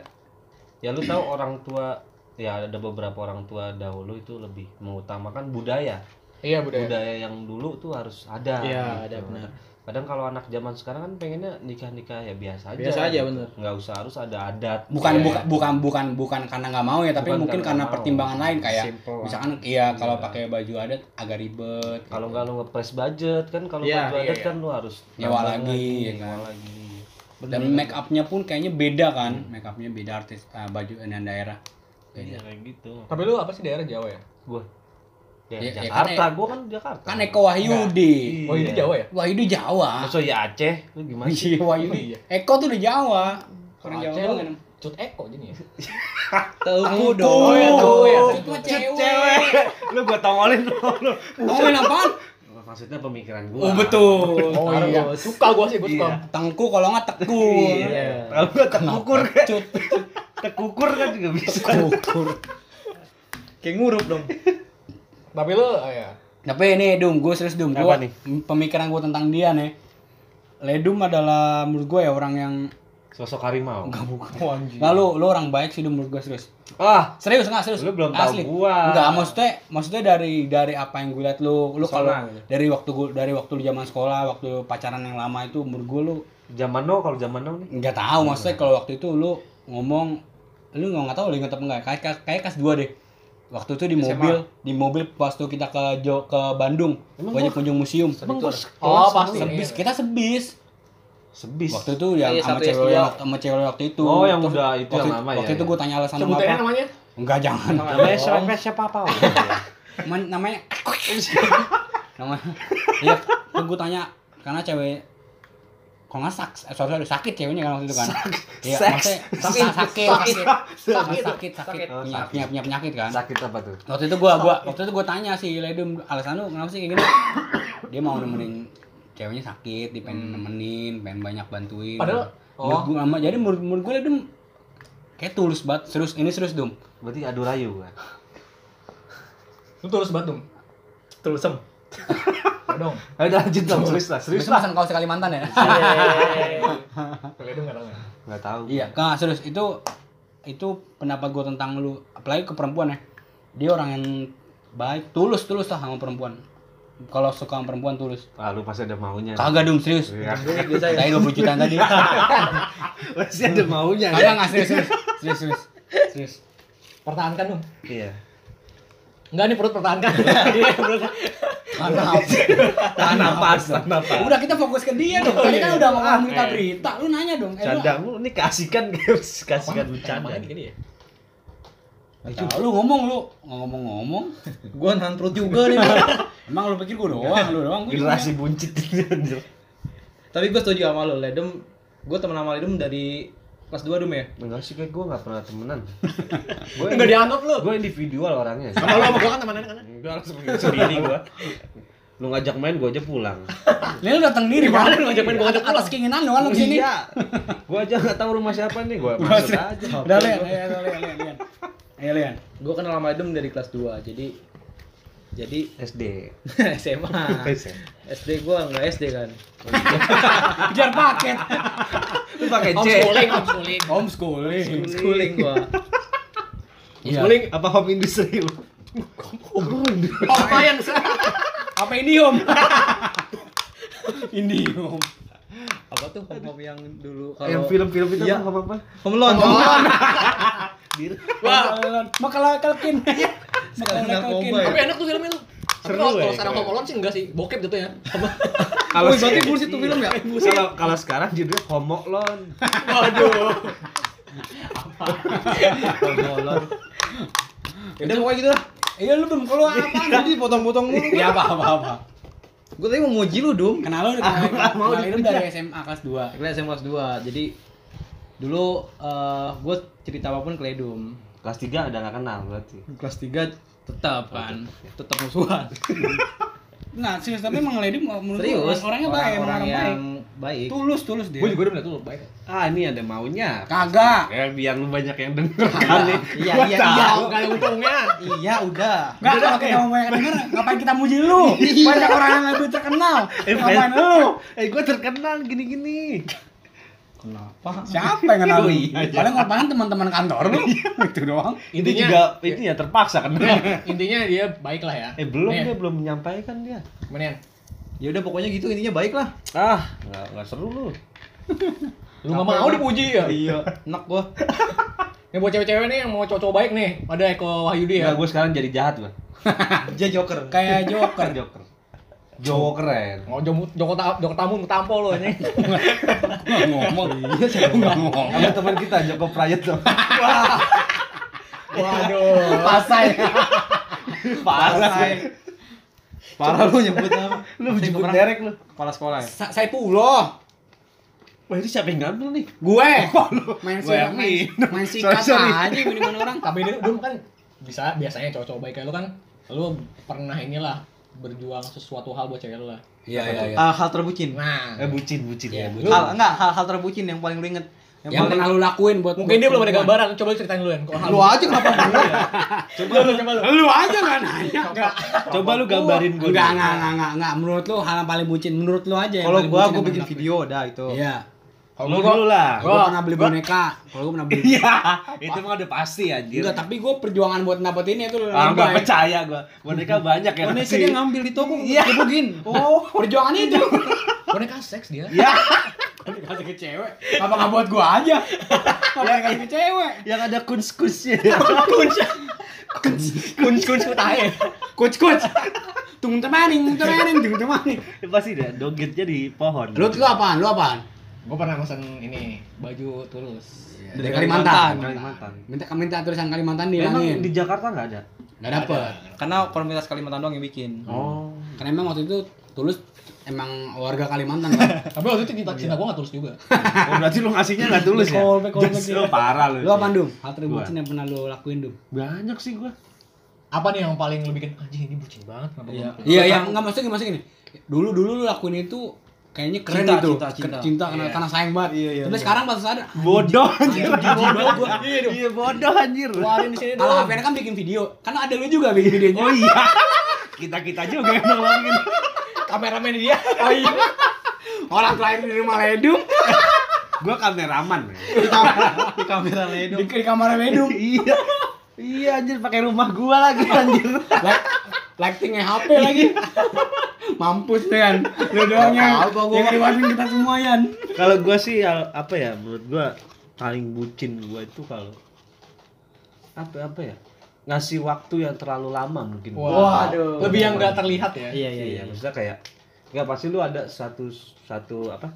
ya lu tahu orang tua ya ada beberapa orang tua dahulu itu lebih mengutamakan budaya
Iya, budaya.
budaya yang dulu tuh harus ada gitu.
Iya, ada, benar.
kadang kalau anak zaman sekarang kan pengennya nikah nikah ya biasa aja
Biasa aja, benar.
nggak usah harus ada adat
bukan
Iya.
bukan bukan bukan bukan karena nggak mau ya tapi
Bukan
mungkin
karena
karena
nggak mau.
pertimbangan lain kayak
Simple.
misalkan iya kalau pakai baju adat agak ribet
kalau nggak lu ngepres budget kan kalau
Iya,
baju
iya,
adat
iya.
kan lu harus
Nyewa
nambah
lagi, ya
nyewa
kan?
lagi
dan make upnya pun kayaknya beda kan make upnya beda artis eh, baju dan daerah
iya
kayaknya.
kayak gitu
Tapi lu apa sih daerah Jawa ya?
gua ya,
Ya, ya
Jakarta
kan,
gua kan Jakarta
kan Eko Wahyudi
Oh, ini Jawa ya?
Wahyudi Jawa
Masa ya Aceh lu gimana sih
Iya Wahyudi Eko tuh di Jawa orang Jawa
Aceh
doang
lu
kan
Cut Eko jadi ya.
Teuku
Oh,
iya,
ya, Teuku ya.
Itu mah cewek.
lu gua tongolin lu, lu.
Ngomongin apaan?
maksudnya pemikiran gua
Oh betul.
Oh iya.
Bos.
Suka gua sih, gua suka.
Iya.
Tengku kalau nggak teku.
Iya. Kalau gua tekukur kan,
Cut.
tekukur kan juga bisa.
Tekur.
Kayak ngurup dong.
Tapi lu oh, ya.
Tapi ini Dum, gue serius Dum. Gua,
Apa nih?
Pemikiran gue tentang dia nih. Ledum adalah menurut gue ya orang yang
Sosok harimau.
enggak bukan.
Oh, anjing.
Nggak, lu, lu orang baik sih Dum menurut gue serius.
Ah,
Serius nggak serius?
Lu belum tahu gua.
Enggak, maksudnya maksudnya dari dari apa yang gue liat lu, lu kalau
Pesona gitu.
dari waktu gua dari waktu lu zaman sekolah, waktu lu pacaran yang lama itu menurut gue lu
zaman now kalau zaman now nih.
nggak tahu maksudnya
Iya.
kalau waktu itu lu ngomong lu nggak nggak tahu lu inget apa enggak kayak kayak, kayak kelas dua deh waktu itu di mobil di mobil pas tuh kita ke Jo- ke Bandung banyak kunjung museum
Oh,
pas
pasti.
sebis kita sebis
ya? sebis.
waktu itu yang
Iya,
sama
satu
cewek
S2.
yang sama cewek waktu itu
Oh, yang
Terus
udah itu
waktu,
yang lama ya,
waktu itu
ya.
gue tanya alasan lu
Sebut aja
apa
namanya.
enggak jangan
Namanya serempet siapa apa?
[LAUGHS] Man- namanya [LAUGHS] namanya iya tuh gue tanya karena cewek kalau nggak saks eh, sorry, sorry, sakit ceweknya kan waktu itu kan iya
Saks.
maksudnya sakit sakit sakit
Sakit.
sakit sakit, sakit.
Oh,
Punya,
sakit.
punya, punya penyakit kan
Sakit apa tuh?
waktu itu gua gua waktu itu gua tanya si Ledum alasan lu kenapa sih kayak gini dia mau nemenin ceweknya sakit dia
Hmm.
pengen nemenin pengen banyak bantuin
Padahal-
menurut
oh.
gua ama- jadi menurut, menurut gua Ledum kayak tulus banget serius ini serius Dum
Berarti adu rayu kan.
Lu terus batum.
Tulusem.
Ya dong.
Ayo lanjut dong, serius lah, serius
itu
lah.
pesan kau sekali mantan ya
Kalian dong enggak tahu. ya?
Enggak tahu.
[LAUGHS] Iya, nah, serius itu itu pendapat gue tentang lu apalagi ke perempuan ya. Dia orang yang baik, tulus tulus lah sama perempuan. Kalau suka sama perempuan tulus.
Ah, lu pasti ada maunya.
Kagak dum serius.
Iya.
Tadi 20 ya? jutaan tadi.
Pasti ada maunya.
Kagak nggak serius serius serius serius. serius.
Pertahankan dong.
Iya.
Enggak nih perut
[LAUGHS]
pertahankan. Iya,
Tahan nafas. Tahan nafas.
tahan nafas. [LAUGHS]
Udah kita fokus ke dia dong. Tadi kan udah mau ngomong berita berita. Lu nanya dong. Eh, lu-
Canda lu ini keasikan guys, keasikan
Bercanda
bercanda.
gini ya.
Tahu, Lu Eh, ngomong lu ngomong-ngomong.
Gua nahan perut juga nih. Bang.
Emang lu pikir gue doang, lu doang gue.
Generasi buncit anjir.
Tapi gue setuju sama lo, Ledem. Gue temen sama Ledem dari kelas 2 Dum ya.
Enggak sih kayak gue nggak pernah temenan. gue
Enggak dianggap lu.
gue individual orangnya. sih.
Sama lu sama gua kan temenan kan.
[LAUGHS] Enggak langsung sendiri gue. Lu ngajak main gue aja pulang.
Ini lu datang sendiri kan?
Kemarin lu ngajak main, gua ngajak
atas keinginan doang lu kesini.
Iya. Gue aja nggak tahu rumah siapa nih gue
Gua
masuk
sih-
aja.
Udah lihat, lihat, lihat, lihat. Ayo lihat.
Gue kenal sama Ledem dari kelas 2. Jadi jadi [LAUGHS]
SD.
SMA.
[LAUGHS] Face, ya?
SD gue nggak SD [LAUGHS] kan.
Kejar paket.
Lu pakai C.
Homeschooling, homeschooling.
Homeschooling.
Schooling gue.
Iya.
Homeschooling.
Apa home industry lu? Home industry.
Appliance.
Apa ini om? ini
Iya,
om.
Apa tuh home home yang dulu kalau
Yang film-film itu
Iya.
apa apa?
Home loan. [LAUGHS]
Wah,
Makalah kalkin. Makalah
Sekarang
kalkin.
narkoba
tapi enak tuh filmnya tuh. Tapi
Seru
kalau
ya,
kalau sekarang
keren.
kolon sih enggak sih, bokep gitu ya. jatuhnya.
Kalau
Wih, berarti bullshit tuh film ya?
kalau kalau sekarang judulnya homo lon.
Waduh.
Home loan. Udah pokoknya gitu lah.
Iya lu belum keluar apa?
Jadi potong-potong mulu.
Ya apa apa apa.
Gue tadi mau muji lu, Dum.
Kenal lu kenal, kenal, lu dari SMA kelas 2.
Akhirnya SMA kelas 2, jadi dulu gue cerita apapun ke Ledum
Kelas 3 udah gak kenal berarti.
Kelas 3 tetap kan, tetap musuhan
Nah, serius tapi emang Lady menurut gua
Serius,
orangnya baik, emang
orang
orang baik.
yang baik
Tulus, tulus dia.
Gue juga udah bilang tuh baik.
Ah, ini ada maunya.
Kagak.
Ya, biar lu banyak yang denger kali.
[LAUGHS]
Iya,
Gua
iya,
tahu.
iya
Enggak ada untungnya.
Iya,
Ya,
udah
Enggak, kalau kita mau banyak denger, ngapain kita muji lu? Banyak orang yang lebih terkenal.
Eh,
Ngapain
Ben.
lu?
Eh, gua terkenal gini-gini.
Kenapa?
Siapa yang kenal lu?
Oh, iya, iya.
Paling ngapain teman-teman kantor lu. Itu doang.
Itu
Intinya- Iya.
juga itu ya terpaksa kenal.
Intinya dia baik lah ya.
Eh, belum
Nih,
dia belum menyampaikan dia.
Menian.
Ya udah pokoknya gitu intinya baik lah
Ah, nggak nggak seru lu.
Lu nggak mau dipuji ya?
Iya, enak gue
Ini buat cewek-cewek nih yang mau cowok-cowok baik nih, ada Eko Wahyudi
Nggak,
ya.
Iya, gua sekarang jadi jahat gua.
Dia joker
Kan
Kayak
Joker,
Joker.
Joker. Jowo keren.
Mau jom joko ta joko tamu ketampo lu
[LAUGHS]
anjing.
Nggak ngomong. Iya, saya nggak ngomong.
Sama teman kita Joko Prayitno.
Waduh.
[LAUGHS]
Pasai.
Parah.
Parah lu nyebut nama
Lu jemput derek lu.
Kepala sekolah ya?
Sa- Saya pulo.
Wah, itu siapa yang ngambil nih?
Gue. Main
Gue
sikat,
yang
main, main sikat
Sorry, sorry.
aja minuman orang.
Tapi dia dulu kan bisa biasanya cowok-cowok baik kayak lu kan lu pernah inilah berjuang sesuatu hal buat cewek lu lah.
Iya, iya, iya.
Ah, Hal terbucin
Nah,
Eh, bucin, bucin
Iya,
ya.
bucin.
bucin.
Hal, enggak, hal, hal terbucin yang paling lu inget
Yang pernah lu lakuin buat
mungkin dia belum ada gambaran, coba lu ceritain dulu kan. Kok hal-
Lu aja kenapa gue ya?
Coba lu coba lu.
Lu aja nggak nanya. Nggak.
Coba lu gambarin gua.
Enggak,
dulu.
enggak, enggak, enggak, enggak. Menurut lu hal yang paling bucin menurut lu aja yang
Kalau
paling
gue,
bucin
gue
yang
bikin
pernah
video dah itu
lakuin. Iya.
Lu dulu lah.
Gue pernah beli boneka. Kalau gue
[LAUGHS]
pernah beli.
Iya, itu mah udah pasti anjir.
Enggak, tapi gue perjuangan buat dapetin itu lu
Iya. Ah, nggak
lebay.
percaya gua. Boneka banyak
Iya.
ya.
Boneka
pasti.
dia ngambil di toko, gebukin Iya. Oh
Perjuangannya
[LAUGHS]
itu.
Boneka seks dia.
Ya,
Kasih ke cewek. Apa nggak buat gue aja?
Ya,
Apa kasih
iya.
ke cewek?
yang ada [LAUGHS] kuns-kunsnya.
Kun kun kutahe.
Coach, coach. Tung temaning, tung temaning, tung temaning.
Ya, pasti deh, dogetnya di pohon.
Lu lu apaan? Lu apaan?
Gua pernah pesan ini baju tulus.
Dari Kalimantan.
Kalimantan.
Minta minta tulisan Kalimantan
Emang
dihilangin.
di Jakarta nggak ada?
Enggak dapet.
Karena komunitas Kalimantan doang yang bikin
Oh.
Karena emang waktu itu tulus emang warga Kalimantan kan. [LAUGHS]
Tapi waktu itu cinta, cinta gua gak tulus juga.
oh berarti lu ngasihnya nggak tulus ya?
Callback, callback
Just,
dia.
lu parah lu.
Lu apaan, Dum? Hal terbucin
Gua.
yang pernah lu lakuin, Dum?
Banyak sih gua.
Apa nih yang paling lu bikin anjing ini bucin banget kenapa gua
Iya.
nggak
Iya, yang enggak maksudnya gini, maksudnya gini. Dulu dulu lu lakuin itu kayaknya keren
Cinta,
gitu.
cinta, cinta.
Ke- cinta karena
Iya.
karena sayang banget.
Iya, iya,
Tapi
iya.
sekarang pas sadar
Bodoh anjir.
bodoh gua.
Iya bodoh anjir.
keluarin di sini
Kalau
dong.
Hafian kan bikin video, kan ada lu juga bikin videonya.
Oh iya. Kita-kita juga yang nolongin.
Kameramen dia.
Oh iya. [LAUGHS] Orang lahir di rumah Ledum,
Gua kameraman. men.
Di kamera
di,
Ledum
di kamar Ledum.
Iya. Iya anjir pakai rumah gua lagi anjir.
Light- Lightingnya HP [LAUGHS] lagi. Mampus deh kan. Lu doang yang
Apa gua?
yang ngeriwasin kita semua Yan.
kalau gua sih hal- apa ya menurut gua paling bucin gua itu kalau apa apa ya ngasih waktu yang terlalu lama mungkin
Waduh.
Lebih yang gak terlihat ya.
Iya,
iya
iya,
iya maksudnya kayak nggak pasti lu ada satu satu apa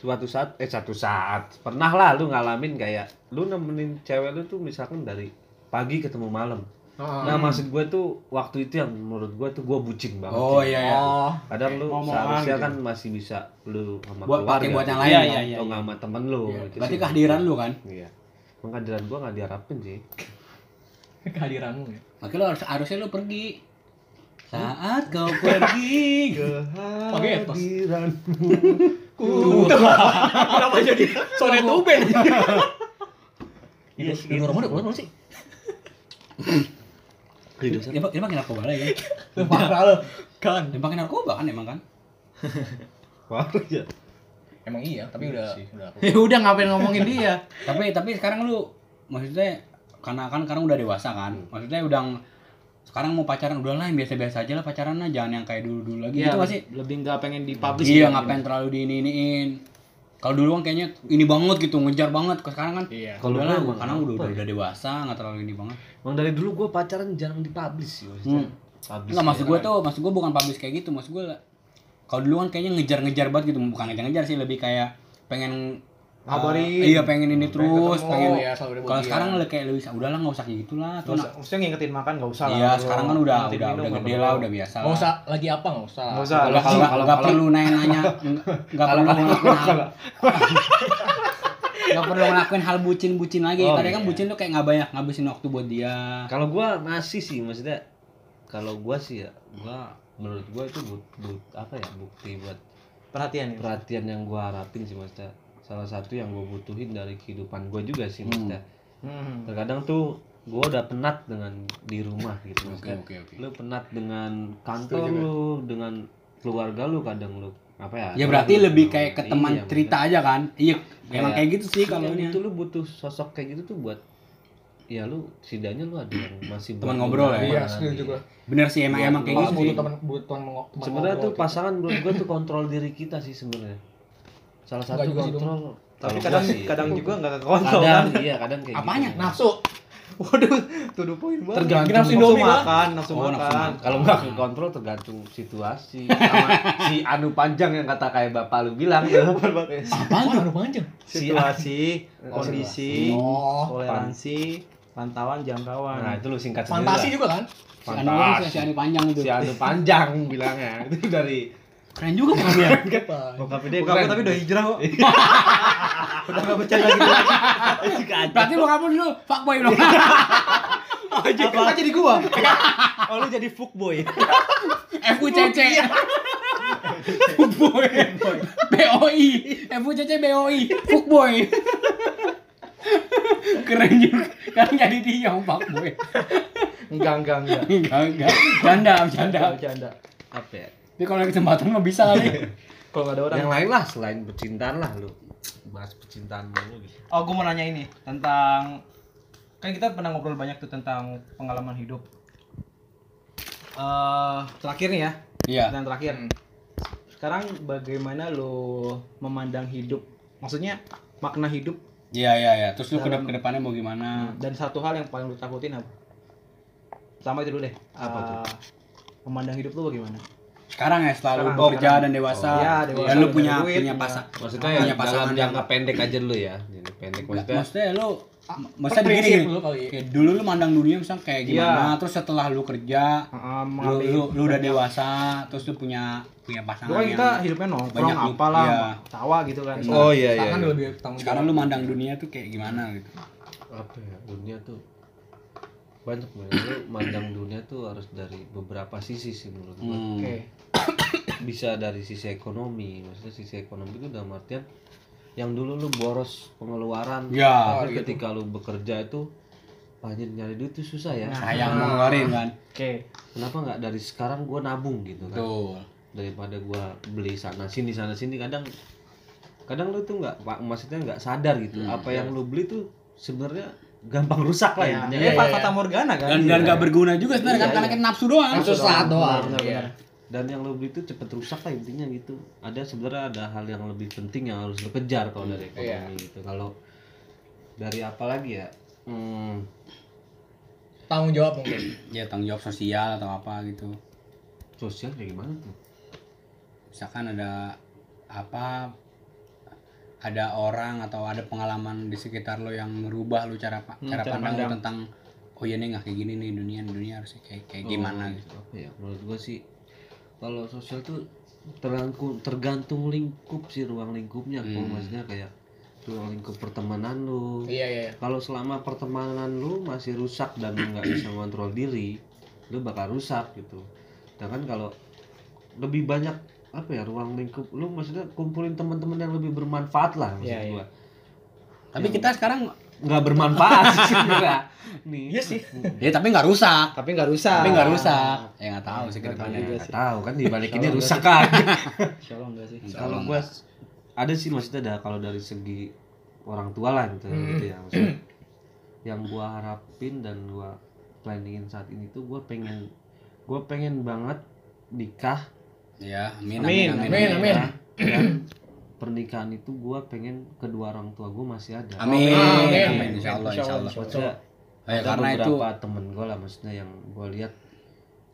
suatu saat eh satu saat pernah lah lu ngalamin kayak lu nemenin cewek lu tuh misalkan dari pagi ketemu malam Nah,
Hmm.
maksud gue tuh waktu itu yang menurut gue tuh gue bucin banget.
Oh
sih.
iya iya.
Oh,
Kadang lu
Ngomong-ngomong
seharusnya
gitu.
kan masih bisa lu sama
Buat pakai
keluarga
buat yang
gitu.
lain.
Iya,
dong.
iya, iya.
atau nggak sama temen lu.
Iya.
Itu
Berarti
sih.
kehadiran lu kan.
Iya. Emang kehadiran gue nggak diharapin sih.
kehadiranmu ya.
Makanya lu harus harusnya lu pergi. Saat kau pergi.
Pakai etos.
Kehadiranmu.
Kenapa jadi sonet tuben? Iya,
[LAUGHS] Iya,
di luar mana? Luar mana sih?
[LAUGHS] Hidup
Dia dia pakai narkoba
[LAUGHS]
lah ya.
Lu Parah lo. Kan.
Dia pakai narkoba kan emang kan.
[LAUGHS] Waduh ya.
Emang iya, tapi udah
Iya sih.
udah aku.
[LAUGHS] ya udah ngapain ngomongin dia
tapi tapi sekarang lu maksudnya karena kan sekarang udah dewasa kan
Hmm.
maksudnya udah ng- sekarang mau pacaran udah lah yang biasa-biasa aja lah pacaran lah jangan yang kayak dulu-dulu lagi
Iya,
gitu masih
lebih nggak pengen dipublish
iya
gitu.
ngapain terlalu diiniin kalau dulu kan kayaknya ini banget gitu ngejar banget Kalau sekarang kan
Iya.
kalau
Kalau
udah lah
gua emang
karena udah,
apa
udah
ya?
udah dewasa nggak terlalu ini banget
Emang dari dulu gue pacaran jarang dipublish sih. maksudnya.
Hmm.
Publish
nggak maksud
ya.
gue tuh maksud gue bukan publish kayak gitu maksud gue lah- kalau dulu kan kayaknya ngejar-ngejar banget gitu bukan ngejar-ngejar sih lebih kayak pengen eh,
Kabarin.
iya pengen ini
Pengen
terus
ketemu,
pengen
ya, selalu ada
kalau
bagian.
sekarang le- kayak lebih udahlah nggak usah kayak gitulah atau
Nggak usah- maksudnya ngingetin makan nggak usah
Iya,
Bro.
sekarang kan udah
Ngingetin
udah
minum,
udah
nggak
gede
perlu.
lah, udah biasa.
Nggak usah lagi apa nggak usah. Iya,
Nggak usah.
Kalau kalau nggak-
Kalau-
nggak
kalau-
perlu nanya-nanya, nggak perlu ngelakuin hal, nggak perlu ngelakuin hal bucin-bucin lagi.
Oh,
Kadang kan
iya.
bucin tuh kayak nggak banyak ngabisin waktu buat dia.
Nah, Kalau gue masih sih maksudnya. Kalau gue sih ya, gue menurut gue itu but, but, apa ya bukti buat
perhatian ya
perhatian yang gue harapin sih maksudnya. Salah satu yang gue butuhin dari kehidupan gue juga sih maksudnya.
Hmm.
Terkadang tuh gue udah penat dengan di rumah
Oke,
gitu maksudnya.
oke, oke.
Lu penat dengan kantor lu, dengan keluarga lu kadang lu apa ya?
Ya berarti
lu-
lebih kayak ke
Iya,
teman
maksudnya.
cerita aja kan? Iya, memang
Kayak-
kayak gitu sih kalau
kalau
ini.
iya, itu lu butuh sosok kayak gitu tuh buat ya lu setidaknya lu ada yang masih
Teman
buat
ngobrol ya?
nyaman,
Iya, setuju gua. Iya
Bener sih emang emang kayak
Kalau
gitu
butuh
sih.
teman butuh teman ngomong. teman
Sebenarnya
ngobrol
tuh
gitu.
pasangan menurut gua tuh kontrol diri kita sih sebenarnya. Salah satu
Enggak juga dong.
kontrol.
tapi
Kalau
kadang
gua sih,
kadang juga nggak kekontrol kan [LAUGHS]
kadang iya kadang kayak
Apanya?
gitu.
nafsu.
waduh to the point banget
Tergantung.
nafsu
Nafsu
Indomie
makan.
makan nafsu
Oh, nafsu
makan
makan.
kalau nggak ke kontrol tergantung situasi sama si anu panjang yang kata kayak bapak lu bilang ya. Anu- tuh.
Apaan tuh? Aduh panjang.
Ah, situasi kondisi
Oh.
toleransi pantauan jangkauan
nah itu lu singkat sendiri
Fantasi
lah.
juga kan?
Si Anu itu, si Anu panjang itu.
si anu panjang bilangnya itu dari
Keren juga kan dia.
Bokap dia kamu tapi udah hijrah [LAUGHS] kok. udah gak bercanda gitu.
Berarti lu kamu dulu fuckboy dong.
Apa jadi gua? oh lu jadi fuckboy.
FUCC. Fuckboy. BOI. FUCC BOI. Fuckboy. Keren juga. Kan jadi dia yang fuckboy.
Enggak enggak enggak.
Enggak, enggak. Canda, canda.
Enggak bercanda.
apa ya?
Tapi kalau ada kesempatan mah bisa kali.
Kalau enggak ada orang.
yang lain lah selain percintaan lah lu bahas percintaan dulu gitu
[LAUGHS] Oh, gua mau nanya ini tentang kan kita pernah ngobrol banyak tuh tentang pengalaman hidup. Eh, terakhir nih ya.
Iya.
Dan terakhir. Sekarang bagaimana lu memandang hidup? Maksudnya makna hidup nah,
Iya, iya, iya. Terus lu ke dep- ke depannya mau gimana?
dan satu hal yang paling lu takutin apa? Pertama itu dulu deh.
Apa tuh?
Eh, Memandang hidup lu bagaimana?
Sekarang ya selalu
Sekarang,
bekerja
sekarang.
dan dewasa.
Iya, dewasa,
Dan lu
punya
punya
duit, iya.
punya
punya-
pasak.
maksudnya
Punya
ya dalam
pasangan
jangka pendek aja lu ya jadi pendek maksudnya
Maksudnya lu Maksudnya
Prinsip
begini,
dulu kali.
kayak dulu lu mandang dunia misalnya kayak
Ah, Iya.
gimana, terus setelah lu kerja,
Heeh,
lu, lu, lu udah dewasa terus lu punya punya pasangan
Dulu kan kita
yang
hidupnya nongkrong
banyak lu-
apalah,
iya.
tawa gitu kan.
oh iya iya
Tangan
iya.
lebih tanggung
sekarang lu mandang dunia tuh kayak gimana gitu
apa ya dunia tuh banyak banget lu mandang dunia tuh harus dari beberapa sisi sih menurut gua
hmm.
Oke.
bisa dari sisi ekonomi maksudnya sisi ekonomi itu dalam artian yang dulu lu boros pengeluaran
ya
tapi ketika lu bekerja itu anjir nyari duit tuh susah ya
sayang mau ngeluarin kan
Oke.
kenapa nggak dari sekarang gua nabung gitu kan
tuh
daripada gua beli sana sini sana sini kadang kadang lu tuh nggak pak maksudnya nggak sadar gitu apa yang lu beli tuh sebenarnya gampang rusak lah
Ya,
intinya
Ini
ya.
Pak Fata Morgana kan.
dan dan gak berguna juga sebenarnya kan karena kita nafsu doang
Nafsu saat doang.
Benar,
Iya.
benar.
dan yang lu beli tuh cepet rusak lah intinya gitu ada sebenarnya ada hal yang lebih penting yang harus lu kejar kalau dari ekonomi gitu kalau dari apa lagi ya hmm,
Tanggung jawab mungkin.
ya tanggung jawab sosial atau apa gitu
sosial kayak gimana tuh
misalkan ada apa ada orang atau ada pengalaman di sekitar lo yang merubah lo cara pa- cara
cara
pandang, lo
pandang.
tentang oh iya nih nggak kayak gini nih dunia dunia harusnya kayak kayak
Oh.
gimana gitu
apa ya menurut gua sih kalau sosial tuh terangku- tergantung lingkup sih ruang lingkupnya kok
Hmm.
maksudnya kayak ruang lingkup pertemanan lu
Iya iya. iya.
kalau selama pertemanan lu masih rusak dan lu nggak bisa mengontrol diri lu bakal rusak gitu sedangkan kalau lebih banyak apa ya ruang lingkup lu maksudnya kumpulin teman-teman yang lebih bermanfaat lah maksud
Iya, iya.
gua
tapi
Yang-
kita sekarang
nggak bermanfaat [LAUGHS] sih sebenarnya nih
Iya sih.
ya tapi nggak rusak
Tapi nggak rusak.
tapi nggak rusak ya nggak tahu sih ke
Nggak
depannya
juga
nggak tahu kan dibalik ini
Kalau nggak-
rusak kan
Insya Allah nggak sih.
Insya
kalau
Allah.
gua ada sih maksudnya ada kalau dari segi orang tua lah gitu,
Hmm.
gitu ya maksudnya. yang gua harapin dan gua planningin saat ini tuh gua pengen gua pengen banget nikah
ya amin
Amin,
amin amin
amin, amin.
ya. dan pernikahan itu gua pengen kedua orang tua gua masih ada
amin
Amin.
amin insya Allah insya Allah
maksudnya
ya,
ada
karena itu
beberapa temen gue lah maksudnya yang gue lihat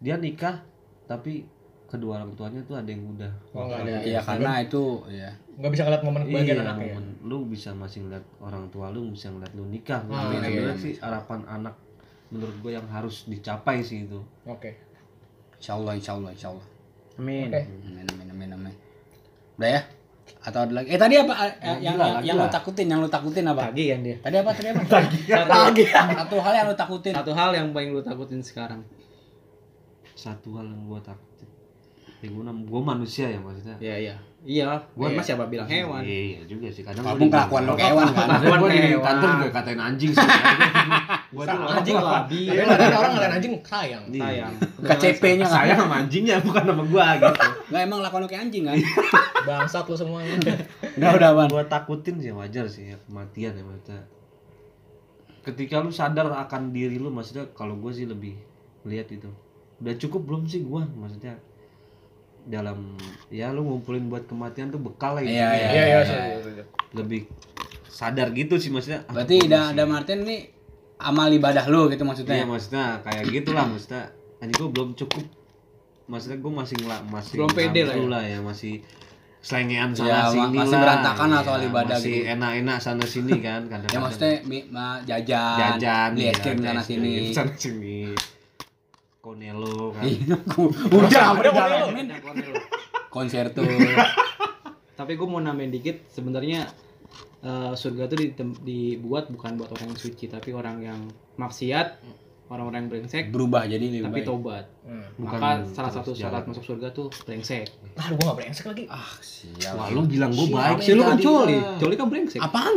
dia nikah tapi kedua orang tuanya tuh ada yang udah
Oh, nggak ada.
ya karena itu ya
Nggak bisa ngeliat momen kebahagiaan
iya,
anaknya.
momen- lu bisa masih ngeliat orang tua lu bisa ngeliat lu nikah gitu.
Ah, iya,
sebenarnya
iya.
sih harapan anak menurut gue yang harus dicapai sih itu
Oke.
insya Allah insya Allah insya Allah
Amin.
Oke.
amin amin amin amin udah ya atau ada lagi eh tadi apa Eh, yang yang,
lah, lagi
yang lo
lah.
takutin yang lo takutin apa
Pagi kan dia.
tadi apa tadi [LAUGHS] apa tadi
Satu,
satu hal yang lo takutin
satu hal yang paling lu takutin sekarang.
satu hal yang gue takutin ya gue, gue manusia ya maksudnya
Iya iya. Iya. Gua
Iya.
mas siapa bilang hewan?
iya juga sih kadang
Walaupun kelakuan lo kayak hewan kan
Kelakuan
gue di
hewan.
kantor gue katain anjing sih gue tuh
Anjing labi.
Tapi kadang orang ngeliat anjing sayang.
Iya.
Sayang.
KCP-nya kan
sayang sama anjingnya bukan sama gue gitu
nggak emang lakukan lo kayak anjing kan
Bangsat lu semua.
[LAUGHS] udah
Iya,
udah Wan.
gua takutin sih wajar sih ya, kematian ya maksudnya ketika lu sadar akan diri lu maksudnya kalau gua sih lebih lihat itu udah cukup belum sih gua maksudnya dalam ya lu ngumpulin buat kematian tuh bekal lah
Iya,
intinya.
iya.
Iya iya. iya, iya.
lebih sadar gitu sih maksudnya ah,
berarti
gua
udah
masih-
ada Martin nih amal ibadah lo gitu
iya
maksudnya
maksudnya kayak gitulah maksudnya anjing gua belum cukup maksudnya gua masih ngelak masih
Belum pede lah
ngablu ya masih
Ya,
selengean sana
ma-
sini
masih
lah.
berantakan lah soal
Iya,
ibadah
masih
gitu.
enak-enak sana sini
[LAUGHS]
kan kadang
ya maksudnya mi- ma- jajan,
jajan
beli es krim
ya,
sana
es krim
sini
sana sini konelo kan
Ih, aku- udah
udah,
udah
udah.
alamin. konser tuh
Tapi gua mau nambahin dikit. Sebenarnya eh, surga tuh ditem- dibuat bukan buat orang yang suci, tapi orang yang maksiat, orang-orang yang brengsek,
berubah jadi lebih
tapi
baik
tobat.
Hmm.
Maka salah
terus
satu
jalan.
syarat masuk surga tuh brengsek.
Aduh gua nggak brengsek lagi.
ah sial
wah lu bilang gue baik
Si lu kan
tadi,
coli,
lah.
coli kan brengsek.
apaan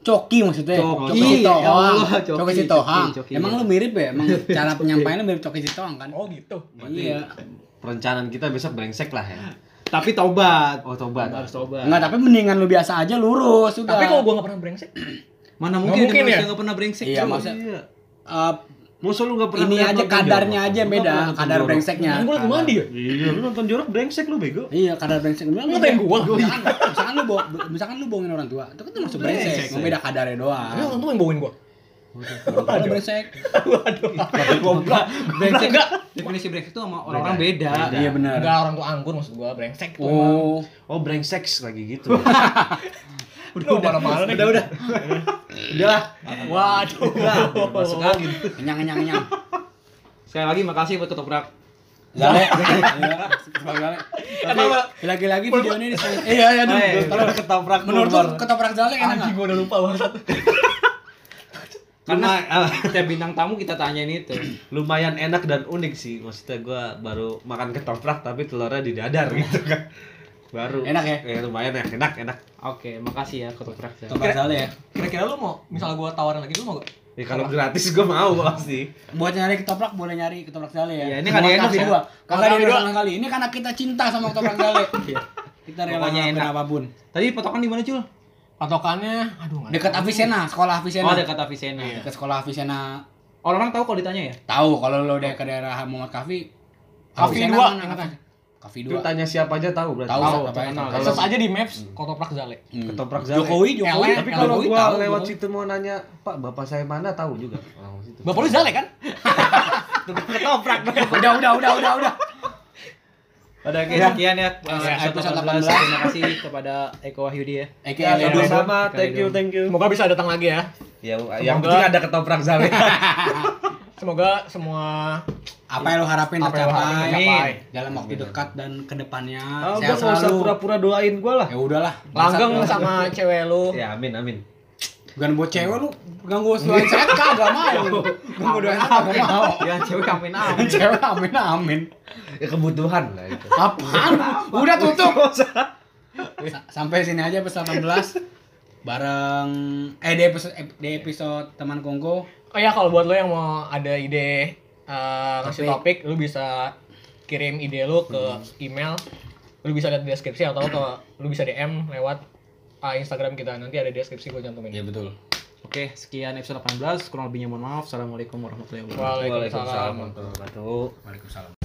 coki maksudnya
Coki.
Sitohang
Ya Allah,
coki,
Coki,
Sitohang
Coki, Coki.
emang lu mirip ya emang cara penyampaiannya mirip coki Sitohang kan
Oh gitu.
Berarti
iya
perencanaan kita besok brengsek lah ya
Tapi tobat.
oh tobat
Harus tobat.
Enggak, tapi mendingan lu biasa aja lurus udah.
Tapi kalau gua nggak pernah brengsek,
Mana
Nggak
mungkin, ada
mungkin
manusia
ya?
nggak pernah brengsek.
Iya,
coy.
maksudnya-
iya
Eh,
Masa lu gak pernah
ini
ngeliat
aja
nonton
kadarnya
jorok?
aja
Lu nggak
beda,
pernah nonton
kadar
jorok?
brengseknya.
kan gua lagi mandi ya.
Iya, lu nonton jorok brengsek lu bego.
Iya, kadar brengsek. Lu
ngatain gua?
Misalkan, misalkan lu bo- misalkan lu bohongin orang tua, itu kan termasuk brengsek.
Brengsek.
Mau beda kadarnya
Tapi orang
doang.
tua yang bawain gua.
Kalau brengsek.
Waduh.
Goblok.
[LAUGHS] brengsek
Enggak.
Definisi brengsek itu sama orang-orang beda.
Beda.
Iya
Enggak
benar.
orang tua anggur maksud gua brengsek tuh. Gitu emang.
Oh,
Oh, brengsek lagi [LAUGHS] gitu.
Udah udah malam udah udah.
Udah.
Waduh.
Masuk angin.
kenyang kenyang kenyang.
Sekali lagi makasih buat ketoprak.
Zale. [LAUGHS] Iya, Bang Zale. Tapi lagi-lagi video ini disini. Iya, iya, aduh.
Eh,
Kalau ketoprak menurut lu ketoprak Zale enak enggak?
Anjing gua udah lupa banget.
Karena setiap bintang tamu kita tanyain itu. [CLEARS THROAT]
lumayan enak dan unik sih maksudnya gua baru makan ketoprak tapi telurnya di dadar gitu kan baru
Enak ya?
Eh, lumayan ya enak enak
Oke, makasih ya ketoprak. Zah.
Ketoprak Zale ya.
Kira-kira lu mau misal gua tawarin lagi lu mau gak?
ya kalau gratis gua mau pasti
Buat nyari ketoprak boleh nyari ketoprak Zale ya.
Iya, ini kan enak ya.
Kalau
Kali
ada
doang.
orang kali ini karena kita cinta sama ketoprak Zale. Kita rela
Pokoknya
ngelakuin
enak.
apapun.
Tadi potongan di mana, Cul?
Patokannya Eh, aduh nggak ada.
Dekat Avicenna, sekolah Avicenna.
Oh, dekat Avicenna.
Dekat sekolah Avicenna.
Orang-orang tahu kalau [LAUGHS] ditanya ya?
Tahu kalau lo udah ke daerah Muhammad Kafi.
Kafi
Avicenna
dua,
mana?
ingat.
Kafi
itu
2.
tanya siapa aja tahu berarti
Tahu
Tahu,
apa
terkenal.
Search aja di maps Kotoprak Zale.
ketoprak Zale.
Hmm.
Eh,
Jokowi, Jokowi.
Ele,
tapi kalau
Jokowi
gua
tahu,
lewat
Jokowi.
situ mau nanya pak bapak saya mana tahu juga orang situ
Bapak lu Zale kan?
ketoprak
Udah, udah, udah, udah, udah.
Pada oke,
Ya.
sekian ya.
Ya, episode
Episode
18.
18. Terima kasih kepada Eko Wahyudi ya.
Eke
ya,
Ele.
sama-sama thank you thank you
Semoga bisa datang lagi ya.
[LAUGHS] ya yang penting ada ketoprak Zale
Semoga semua
Apa yang lo harapin
Apa yang lo harapin
tercapai
tercapai.
dalam waktu dekat dan kedepannya
Ah, gua
sehat
nggak usah
selalu.
pura-pura doain gue lah.
Ya udahlah.
langgeng
[LAUGHS]
Iya.
Bangsat,
sama cewek lu.
Ya amin amin.
Bukan buat cewek lu ganggu doain saya kagak mau. Ganggu doain saya kagak mau.
Ya cewek kamen amin.
Cewek amin amin.
Ya kebutuhan lah itu.
Apaan? Udah tutup.
[LAUGHS]
Sa- Sampai sini aja episode 18 bareng eh di episode di episode teman kongko
Oh ya kalau buat lo yang mau ada ide eh, ngasih
Topik.
topik, Hmm. lo bisa kirim ide lo ke email. Lo bisa lihat di deskripsi atau ke lo bisa DM lewat eh, Instagram kita. Nanti ada di deskripsi gue cantumin.
Iya betul.
Oke, sekian episode 18. Kurang lebihnya mohon maaf. Assalamualaikum warahmatullahi wabarakatuh.
Waalaikumsalam.
warahmatullahi wabarakatuh.
Waalaikumsalam.